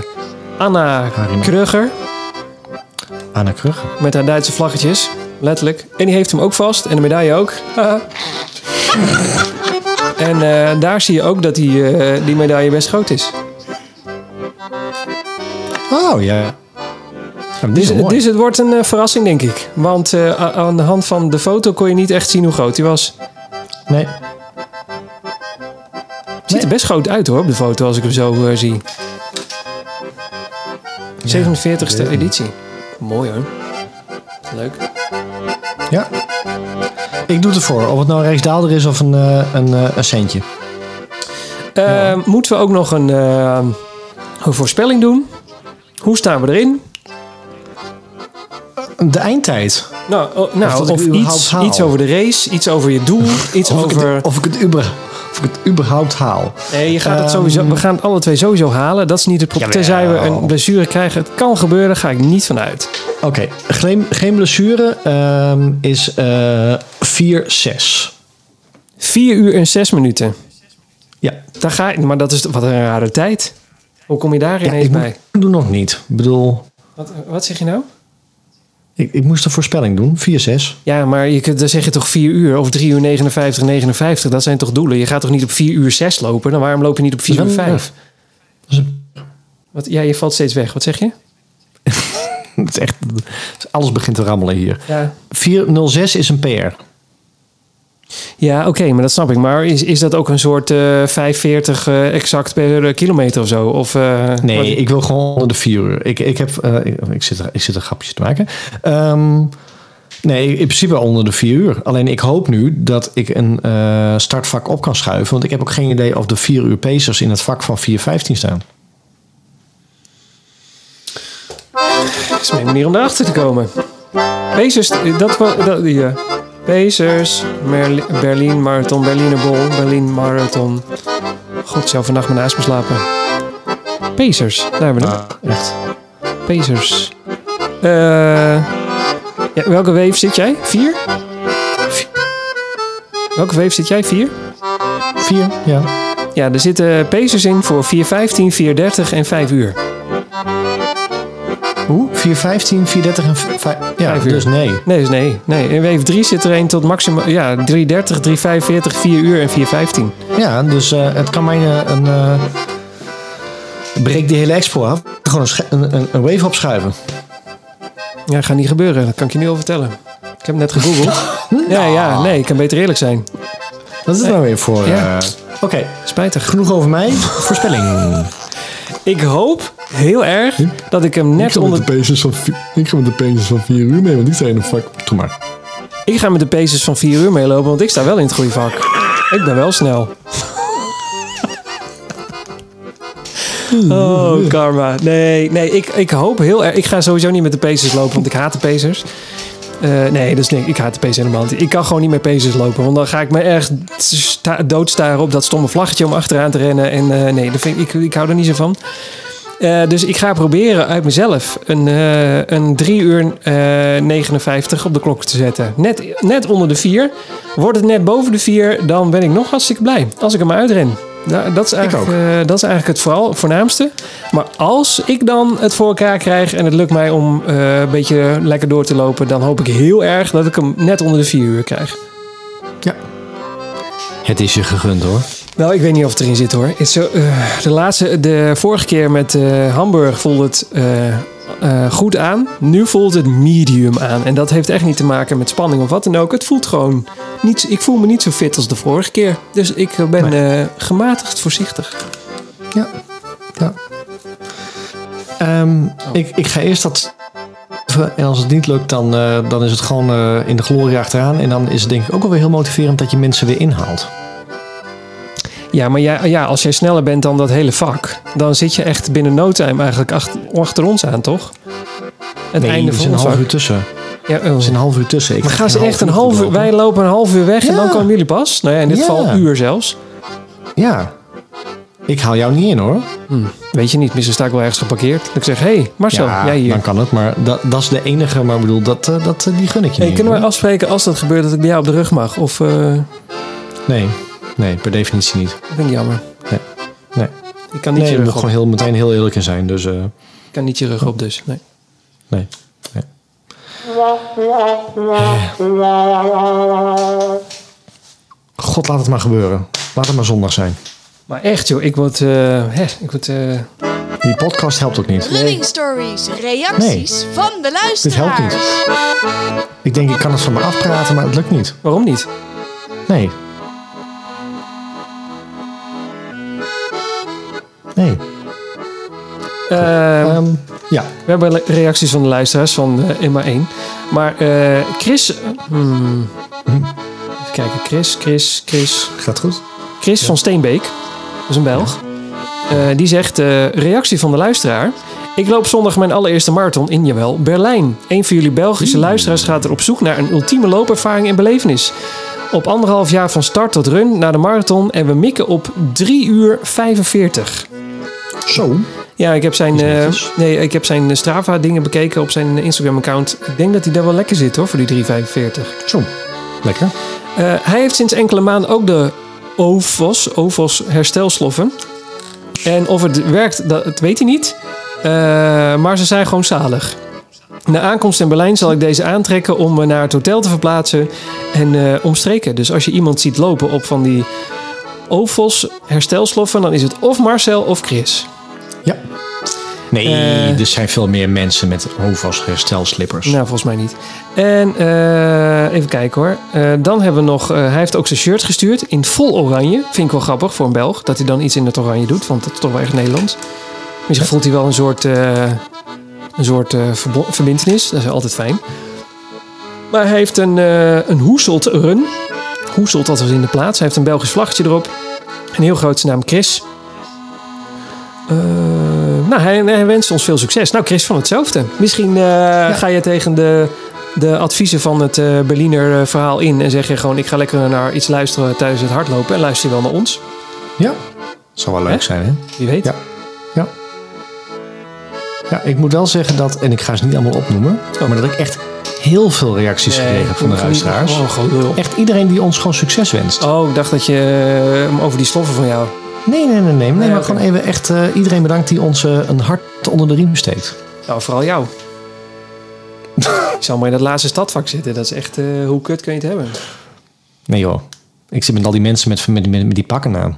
S1: Anna
S2: Harima.
S1: Krugger
S2: Anna Krug.
S1: met haar Duitse vlaggetjes. Letterlijk. En die heeft hem ook vast. En de medaille ook. Haha. en eh, daar zie je ook dat die, eh, die medaille best groot is.
S2: Oh, ja. Oké. Nou, dit
S1: Dus,
S2: is wel mooi.
S1: dus het wordt een eh, verrassing, denk ik. Want eh, a- aan de hand van de foto kon je niet echt zien hoe groot hij was.
S2: Nee.
S1: Ziet er best groot uit hoor, op de foto, als ik hem zo eh, zie. 47ste
S2: weet ik
S1: editie. Mooi hoor. Leuk.
S2: Ja. Ik doe het ervoor. Of het nou een Rijksdaalder is of een, eh, een, eh, een centje.
S1: Eh, Moeten we ook nog een, eh, een voorspelling doen? Hoe staan we erin?
S2: De eindtijd.
S1: Nou, o-
S2: Of
S1: nou
S2: dat
S1: of,
S2: ik überhaupt
S1: iets,
S2: haal.
S1: iets over de race, iets over je doel, iets
S2: Of, ik,
S1: over...
S2: het, of, ik het uber, of ik het überhaupt haal.
S1: Nee, je gaat het sowieso, we gaan het alle twee sowieso halen. Dat is niet het probleem.
S2: Ehm. Jawel.
S1: Tenzij we een blessure krijgen. Het kan gebeuren, daar ga ik niet van uit.
S2: Oké, geen, geen blessure ehm, is eh 4-6.
S1: 4 uur en 6 minuten.
S2: Ja,
S1: Daar ga ik, maar dat is wat een rare tijd. Hoe kom je daar
S2: ja
S1: ineens
S2: ik
S1: bij?
S2: moet- doe nog niet. Ik bedoel,
S1: Wat, wat zeg je nou?
S2: ik, ik moest een voorspelling doen. 4-6.
S1: Ja, maar je kunt, dan zeg je toch 4 uur of 3 uur 59, 59. Dat zijn toch doelen? Je gaat toch niet op 4 uur 6 lopen? Dan waarom loop je niet op 4
S2: Dat
S1: uur
S2: is wel-
S1: 5?
S2: Dat is een-
S1: Wat, ja, je valt steeds weg. Wat zeg je?
S2: Het is echt, alles begint te rammelen hier.
S1: Ja,
S2: 4-0-6 is een PR.
S1: ja oké, maar dat snap ik. Maar is, is dat ook een soort eh 45 eh, exact per eh, kilometer of zo? Of, eh,
S2: Nee,
S1: wat-
S2: ik wil gewoon onder de vier uur. Ik, ik, heb, eh, ik, ik zit er, ik zit er grapjes te maken. Ehm, nee, in principe onder de vier uur. Alleen ik hoop nu dat ik een eh, startvak op kan schuiven. Want ik heb ook geen idee of de vier uur pacers in het vak van 4.15 staan.
S1: Dat is mijn manier om erachter te komen. Pacers, eh, dat was... Dat, ja. Pacers, Merli- Berlin Marathon, Berliner Bol, Berlin Marathon. God, ik zou vannacht mijn naast me slapen. Pacers, daar hebben we het.
S2: Echt.
S1: Pacers. Eh, ja, welke wave zit jij? Vier? Vi- Welke wave zit jij? Vier?
S2: Vier, ja.
S1: Ja, er zitten Pacers in voor 4.15, 4.30 en 5 uur.
S2: Hoe? 4.15, 4.30 en 5. Ja,
S1: Vijf uur.
S2: dus nee.
S1: Nee, dus nee. nee. In wave 3 zit er een tot maximaal... Ja, 3.30, 3.45, 4 uur en 4.15.
S2: Ja, dus eh, het kan mij eh, een... eh, breek die hele expo af. Gewoon een, sche- een, een- een wave opschuiven.
S1: Ja, gaat niet gebeuren. Dat kan ik je nu al vertellen. Ik heb net gegoogeld. Ja, ja, nee, ik kan beter eerlijk zijn.
S2: Dat is het nou weer voor...
S1: Ja.
S2: eh, Oké,
S1: Spijtig.
S2: genoeg over mij. Voorspelling.
S1: Ik hoop heel erg dat ik hem
S6: Ik
S1: net
S6: ga, met
S1: onder...
S6: de pacers van, vi- ik ga met de pacers van 4 uur mee, want die zijn een vak.
S2: Doe maar.
S1: Ik ga met de paces van 4 uur meelopen, want ik sta wel in het goede vak. Ik ben wel snel. Oh, karma. Nee, nee ik, ik hoop heel erg... Ik ga sowieso niet met de paces lopen, want ik haat de paces. Eh, nee, dat is niks. Ik haat de paces helemaal niet. Ik kan gewoon niet met paces lopen, want dan ga ik me echt sta- doodstaren op dat stomme vlaggetje om achteraan te rennen. En eh, nee, dat vind ik, ik, ik hou er niet zo van. Eh, dus ik ga proberen uit mezelf een, eh, een 3 uur eh 59 op de klok te zetten. Net, net onder de 4. Wordt het net boven de 4, dan ben ik nog hartstikke blij. Als ik er maar uitren. Nou, dat, is eigenlijk, eh, dat is eigenlijk het vooral, voornaamste. Maar als ik dan het voor elkaar krijg en het lukt mij om eh, een beetje lekker door te lopen, dan hoop ik heel erg dat ik hem net onder de 4 uur krijg.
S2: Het is je gegund hoor.
S1: Nou, ik weet niet of het erin zit hoor. Het is zo, eh, de, laatste, de vorige keer met eh, Hamburg voelde het eh, eh, goed aan. Nu voelt het medium aan. En dat heeft echt niet te maken met spanning of wat dan ook. Het voelt gewoon niet. Ik voel me niet zo fit als de vorige keer. Dus ik ben eh, gematigd voorzichtig.
S2: Ja. ja. Ehm, ik, ik ga eerst dat. En als het niet lukt, dan, eh, dan is het gewoon eh, in de glorie achteraan. En dan is het denk ik ook alweer heel motiverend dat je mensen weer inhaalt.
S1: Ja, maar ja, ja, als jij sneller bent dan dat hele vak, dan zit je echt binnen no time eigenlijk achter, achter ons aan, toch? Het
S2: Nee,
S1: einde
S2: er
S1: van
S2: zit een
S1: ons
S2: half
S1: vak.
S2: uur tussen. Er
S1: Ja, oh.
S2: zit een half uur tussen. Ik
S1: Maar gaan ze
S2: geen
S1: echt een
S2: uur
S1: half uur...
S2: lopen.
S1: Wij lopen een half uur weg en
S2: Ja.
S1: dan komen jullie pas? Nou ja, in dit
S2: Ja.
S1: geval een uur zelfs.
S2: Ja. Ik haal jou niet in hoor.
S1: Weet je niet, misschien sta ik wel ergens geparkeerd. Dat ik zeg, hé hey, Marcel, jij hier.
S2: dan kan het. Maar dat, dat is de enige. Maar ik bedoel, dat, eh, dat, eh, die gun ik je
S1: Hey,
S2: niet.
S1: kunnen we
S2: hoor.
S1: afspreken als dat gebeurt dat ik bij jou op de rug mag? Of eh,
S2: Nee. nee, per definitie niet.
S1: dat vind ik jammer.
S2: Nee. Nee.
S1: Ik kan niet,
S2: Nee,
S1: je,
S2: je moet
S1: rug op.
S2: gewoon heel, meteen heel eerlijk in zijn. Dus eh,
S1: Ik kan niet je rug op dus. Nee.
S2: nee. nee. Eh. God, laat het maar gebeuren. Laat het maar zondag zijn.
S1: Maar echt joh, ik word... eh, hè, ik word eh,
S2: Die podcast helpt ook niet.
S4: Running stories, reacties van de
S2: Dit helpt niet.
S4: luisteraars.
S2: Ik denk, ik kan het van me afpraten, maar het lukt niet.
S1: Waarom niet?
S2: Nee. Nee.
S1: Eh,
S2: Ehm, ja.
S1: we hebben le- reacties van de luisteraars van eh, Emma 1. Maar eh, Chris... eh, hmm.
S2: Hm?
S1: Even kijken. Chris, Chris, Chris...
S2: Gaat goed?
S1: Chris van Steenbeek, dat is een Belg. Eh, die zegt, eh, reactie van de luisteraar. Ik loop zondag mijn allereerste marathon in, jawel, Berlijn. Een van jullie Belgische luisteraars gaat er op zoek naar een ultieme loopervaring en belevenis. Op anderhalf jaar van start tot run naar de marathon en we mikken op 3 uur 45.
S2: Zo.
S1: Ja, ik heb zijn,
S2: Is
S1: eh,
S2: netjes.
S1: nee, ik heb zijn eh, Strava dingen bekeken op zijn Instagram account. Ik denk dat hij daar wel lekker zit hoor, voor die 345.
S2: Zo. Lekker.
S1: Eh, hij heeft sinds enkele maanden ook de OVOS, OVOS herstelstoffen. En of het werkt, dat, dat weet hij niet. Eh, maar ze zijn gewoon zalig. Na aankomst in Berlijn zal ik deze aantrekken om me naar het hotel te verplaatsen en eh, omstreken. Dus als je iemand ziet lopen op van die OVOS herstelstoffen, dan is het of Marcel of Chris.
S2: Ja. Nee,
S1: Eh.
S2: er zijn veel meer mensen met hoofdvast herstelslippers.
S1: Nou, volgens mij niet. En eh, even kijken hoor. Eh, dan hebben we nog. eh, hij heeft ook zijn shirt gestuurd in vol oranje. Vind ik wel grappig voor een Belg dat hij dan iets in het oranje doet, want dat is toch wel echt Nederlands. Misschien voelt hij wel een soort, eh, een soort eh verbindenis. Dat is altijd fijn. Maar hij heeft een, eh een hoeselt run. Hoeselt, dat was in de plaats. Hij heeft een Belgisch vlaggetje erop. Een heel groot zijn naam Chris. Eh, nou, hij, hij wenst ons veel succes. Nou, Chris, van hetzelfde. Misschien eh, ga je tegen de, de adviezen van het eh, Berliner eh, verhaal in en zeg je gewoon: ik ga lekker naar iets luisteren tijdens het hardlopen en luister je wel naar ons.
S2: Ja. Zou wel leuk
S1: Hè?
S2: zijn, hè?
S1: Wie weet.
S2: Ja. Ja. Ja, ik moet wel zeggen dat, en ik ga ze niet allemaal opnoemen, oh, maar dat ik echt heel veel reacties
S1: Nee,
S2: gekregen heb van de
S1: gewoon-
S2: luisteraars.
S1: gewoon Oh, gewoon lul.
S2: Echt iedereen die ons gewoon succes wenst.
S1: Oh, ik dacht dat je eh, hem over die sloffen van jou.
S2: Nee, nee, nee, nee. nee maar
S1: oké.
S2: gewoon even echt eh, iedereen bedankt die ons eh, een hart onder de riem steekt.
S1: Nou, vooral jou. ik zal maar in dat laatste stadvak zitten. Dat is echt, eh, hoe kut kun je het hebben?
S2: Nee joh. Ik zit met al die mensen met, met, met, met die pakken aan.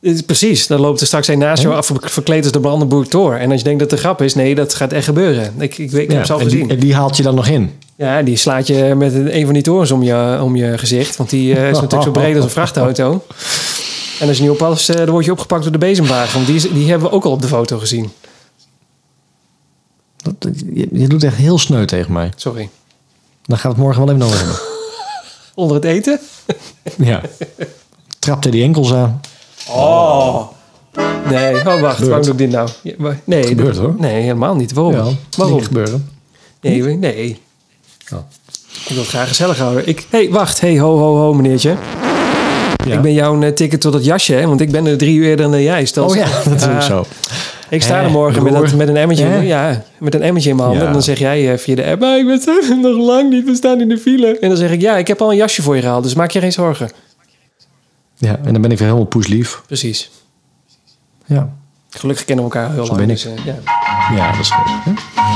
S1: Dit is Precies, dan loopt er straks een naast jou af verkleed als de Brandenburg Tor. En als je denkt dat het een grap is, nee, dat gaat echt gebeuren. Ik, ik, weet, ik heb het al
S2: en,
S1: gezien.
S2: die, en die haalt je dan nog in.
S1: Ja, die slaat je met een een van die torens om je, om je gezicht. Want die eh, is natuurlijk zo breed als een vrachtauto. En als je niet oppast, eh, dan word je opgepakt door de bezemwagen. Want die, is- die hebben we ook al op de foto gezien.
S2: Dat, je, je doet echt heel sneu tegen mij.
S1: Sorry.
S2: Dan gaan we het morgen wel even over hebben.
S1: Onder het eten?
S2: ja. Trapte die enkels aan.
S1: Nee, oh, wacht. Waarom doe ik dit nou? Ja, maar- Nee,
S2: Gebeurt,
S1: dat-
S2: hoor.
S1: Nee, helemaal niet. Waarom? Waarom?
S2: gebeuren.
S1: Nee, we- nee.
S2: Oh.
S1: Ik wil het graag gezellig houden. Ik, hey, wacht. Hey, ho, ho, ho, meneertje. Ik ben jouw eh, ticket tot dat jasje, hè? Want ik ben er drie uur eerder dan jij. Stel,
S2: Oh ja, dat doe ik
S1: Ah,
S2: zo.
S1: Ik sta
S2: Hè,
S1: er morgen met,
S2: broer.
S1: dat- met, een emmertje,
S2: Hè?
S1: ja, met een emmertje in mijn handen.
S2: Ja.
S1: En dan zeg jij eh, via de app, "Maar ik ben er nog lang niet, we staan in de file. En dan zeg ik, ja, ik heb al een jasje voor je gehaald, dus maak je geen zorgen.
S2: Ja, en dan ben ik weer helemaal poeslief.
S1: Precies.
S2: Ja.
S1: Gelukkig kennen we elkaar heel lang.
S2: ben ik.
S1: dus, eh, ja.
S2: Ja, dat is goed. hè?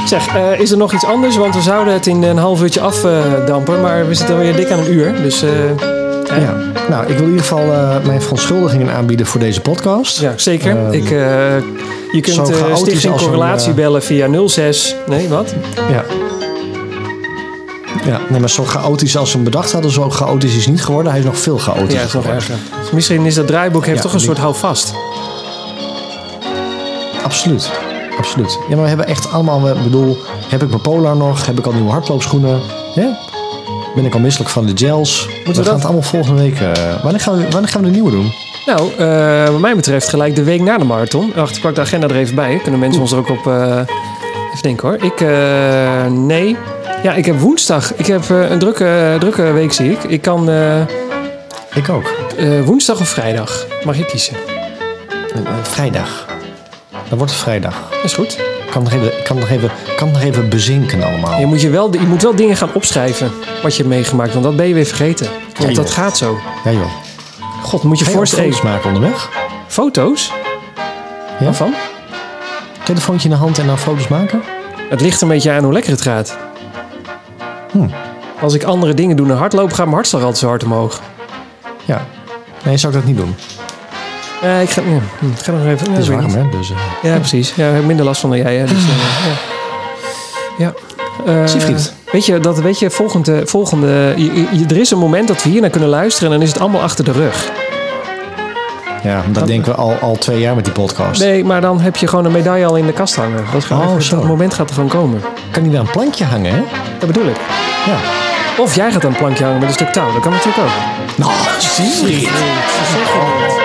S1: Zeg, eh, is er nog iets anders? Want we zouden het in een half uurtje afdampen, maar we zitten alweer dik aan een uur. Dus eh,
S2: Ja. Nou, ik wil in ieder geval eh, mijn verontschuldigingen aanbieden voor deze podcast.
S1: ja, zeker.
S2: Ehm,
S1: ik, eh, je kunt
S2: zo
S1: eh,
S2: chaotisch
S1: Stichting
S2: als een,
S1: Correlatie
S2: eh,
S1: bellen via 06... Nee, wat?
S2: Ja. Ja, nee, maar zo chaotisch als ze hem bedacht hadden, zo chaotisch is niet geworden. Hij is nog veel chaotischer
S1: Ja, dat is nog
S2: geworden.
S1: erger. Misschien is dat draaiboek heeft
S2: Ja,
S1: toch een
S2: die-
S1: soort houvast.
S2: Absoluut. Absoluut. Ja, maar we hebben echt allemaal... Ik bedoel, heb ik mijn polar nog? Heb ik al nieuwe hardloopschoenen? Ja? Ben ik al misselijk van de gels? we
S1: dat-
S2: gaan het allemaal volgende week... eh, wanneer, gaan we, wanneer gaan we de nieuwe doen?
S1: Nou, eh, wat mij betreft gelijk de week na de marathon. Wacht, ik pak de agenda er even bij. Kunnen mensen ons er ook op... eh, even denken hoor. Ik, eh, nee. Ja, ik heb woensdag. Ik heb eh, een drukke, drukke week, zie ik. Ik kan eh,
S2: Ik ook.
S1: eh, woensdag of vrijdag. Mag je kiezen.
S2: Eh, eh, vrijdag. Dat wordt het vrijdag.
S1: Dat is goed.
S2: Ik kan nog even, ik kan nog even, ik kan nog even bezinken allemaal.
S1: Je moet, je, wel, je moet wel dingen gaan opschrijven wat je hebt meegemaakt. Want dat ben je weer vergeten. Want
S2: Ja,
S1: dat
S2: joh.
S1: gaat zo.
S2: Ja joh.
S1: God, moet je
S2: Ga je ook
S1: voorstellen...
S2: foto's maken onderweg?
S1: Hey, foto's?
S2: Ja?
S1: Waarvan?
S2: Telefoontje in de hand en dan foto's maken?
S1: Het ligt een beetje aan hoe lekker het gaat.
S2: Hm.
S1: Als ik andere dingen doe dan hardlopen, gaat mijn hartslag altijd zo hard omhoog.
S2: Ja. Nee, zou ik dat niet doen.
S1: Eh, ik ga, ja, hm, ik ga nog even...
S2: Het is
S1: ja, weet ik
S2: warm,
S1: niet.
S2: hè? Dus, eh,
S1: Ja, precies. Ja, ik heb minder last van dan jij. Hè, dus, eh, ja. ja. Eh,
S2: Siegfried.
S1: Weet je, dat, weet je, volgende, volgende, je- je- je- er is een moment dat we hier naar kunnen luisteren en dan is het allemaal achter de rug.
S2: ja, dat denken we al, al twee jaar met die podcast.
S1: Nee, maar dan heb je gewoon een medaille al in de kast hangen. Dat, is gewoon
S2: Oh,
S1: echt-
S2: zo.
S1: dat moment gaat er gewoon komen.
S2: Kan die weer een plankje hangen, hè?
S1: Dat bedoel ik.
S2: Ja.
S1: Of jij gaat een plankje hangen met een stuk touw. Dat kan natuurlijk ook.
S2: Nou, Siegfried.
S1: Dat zeg je niet.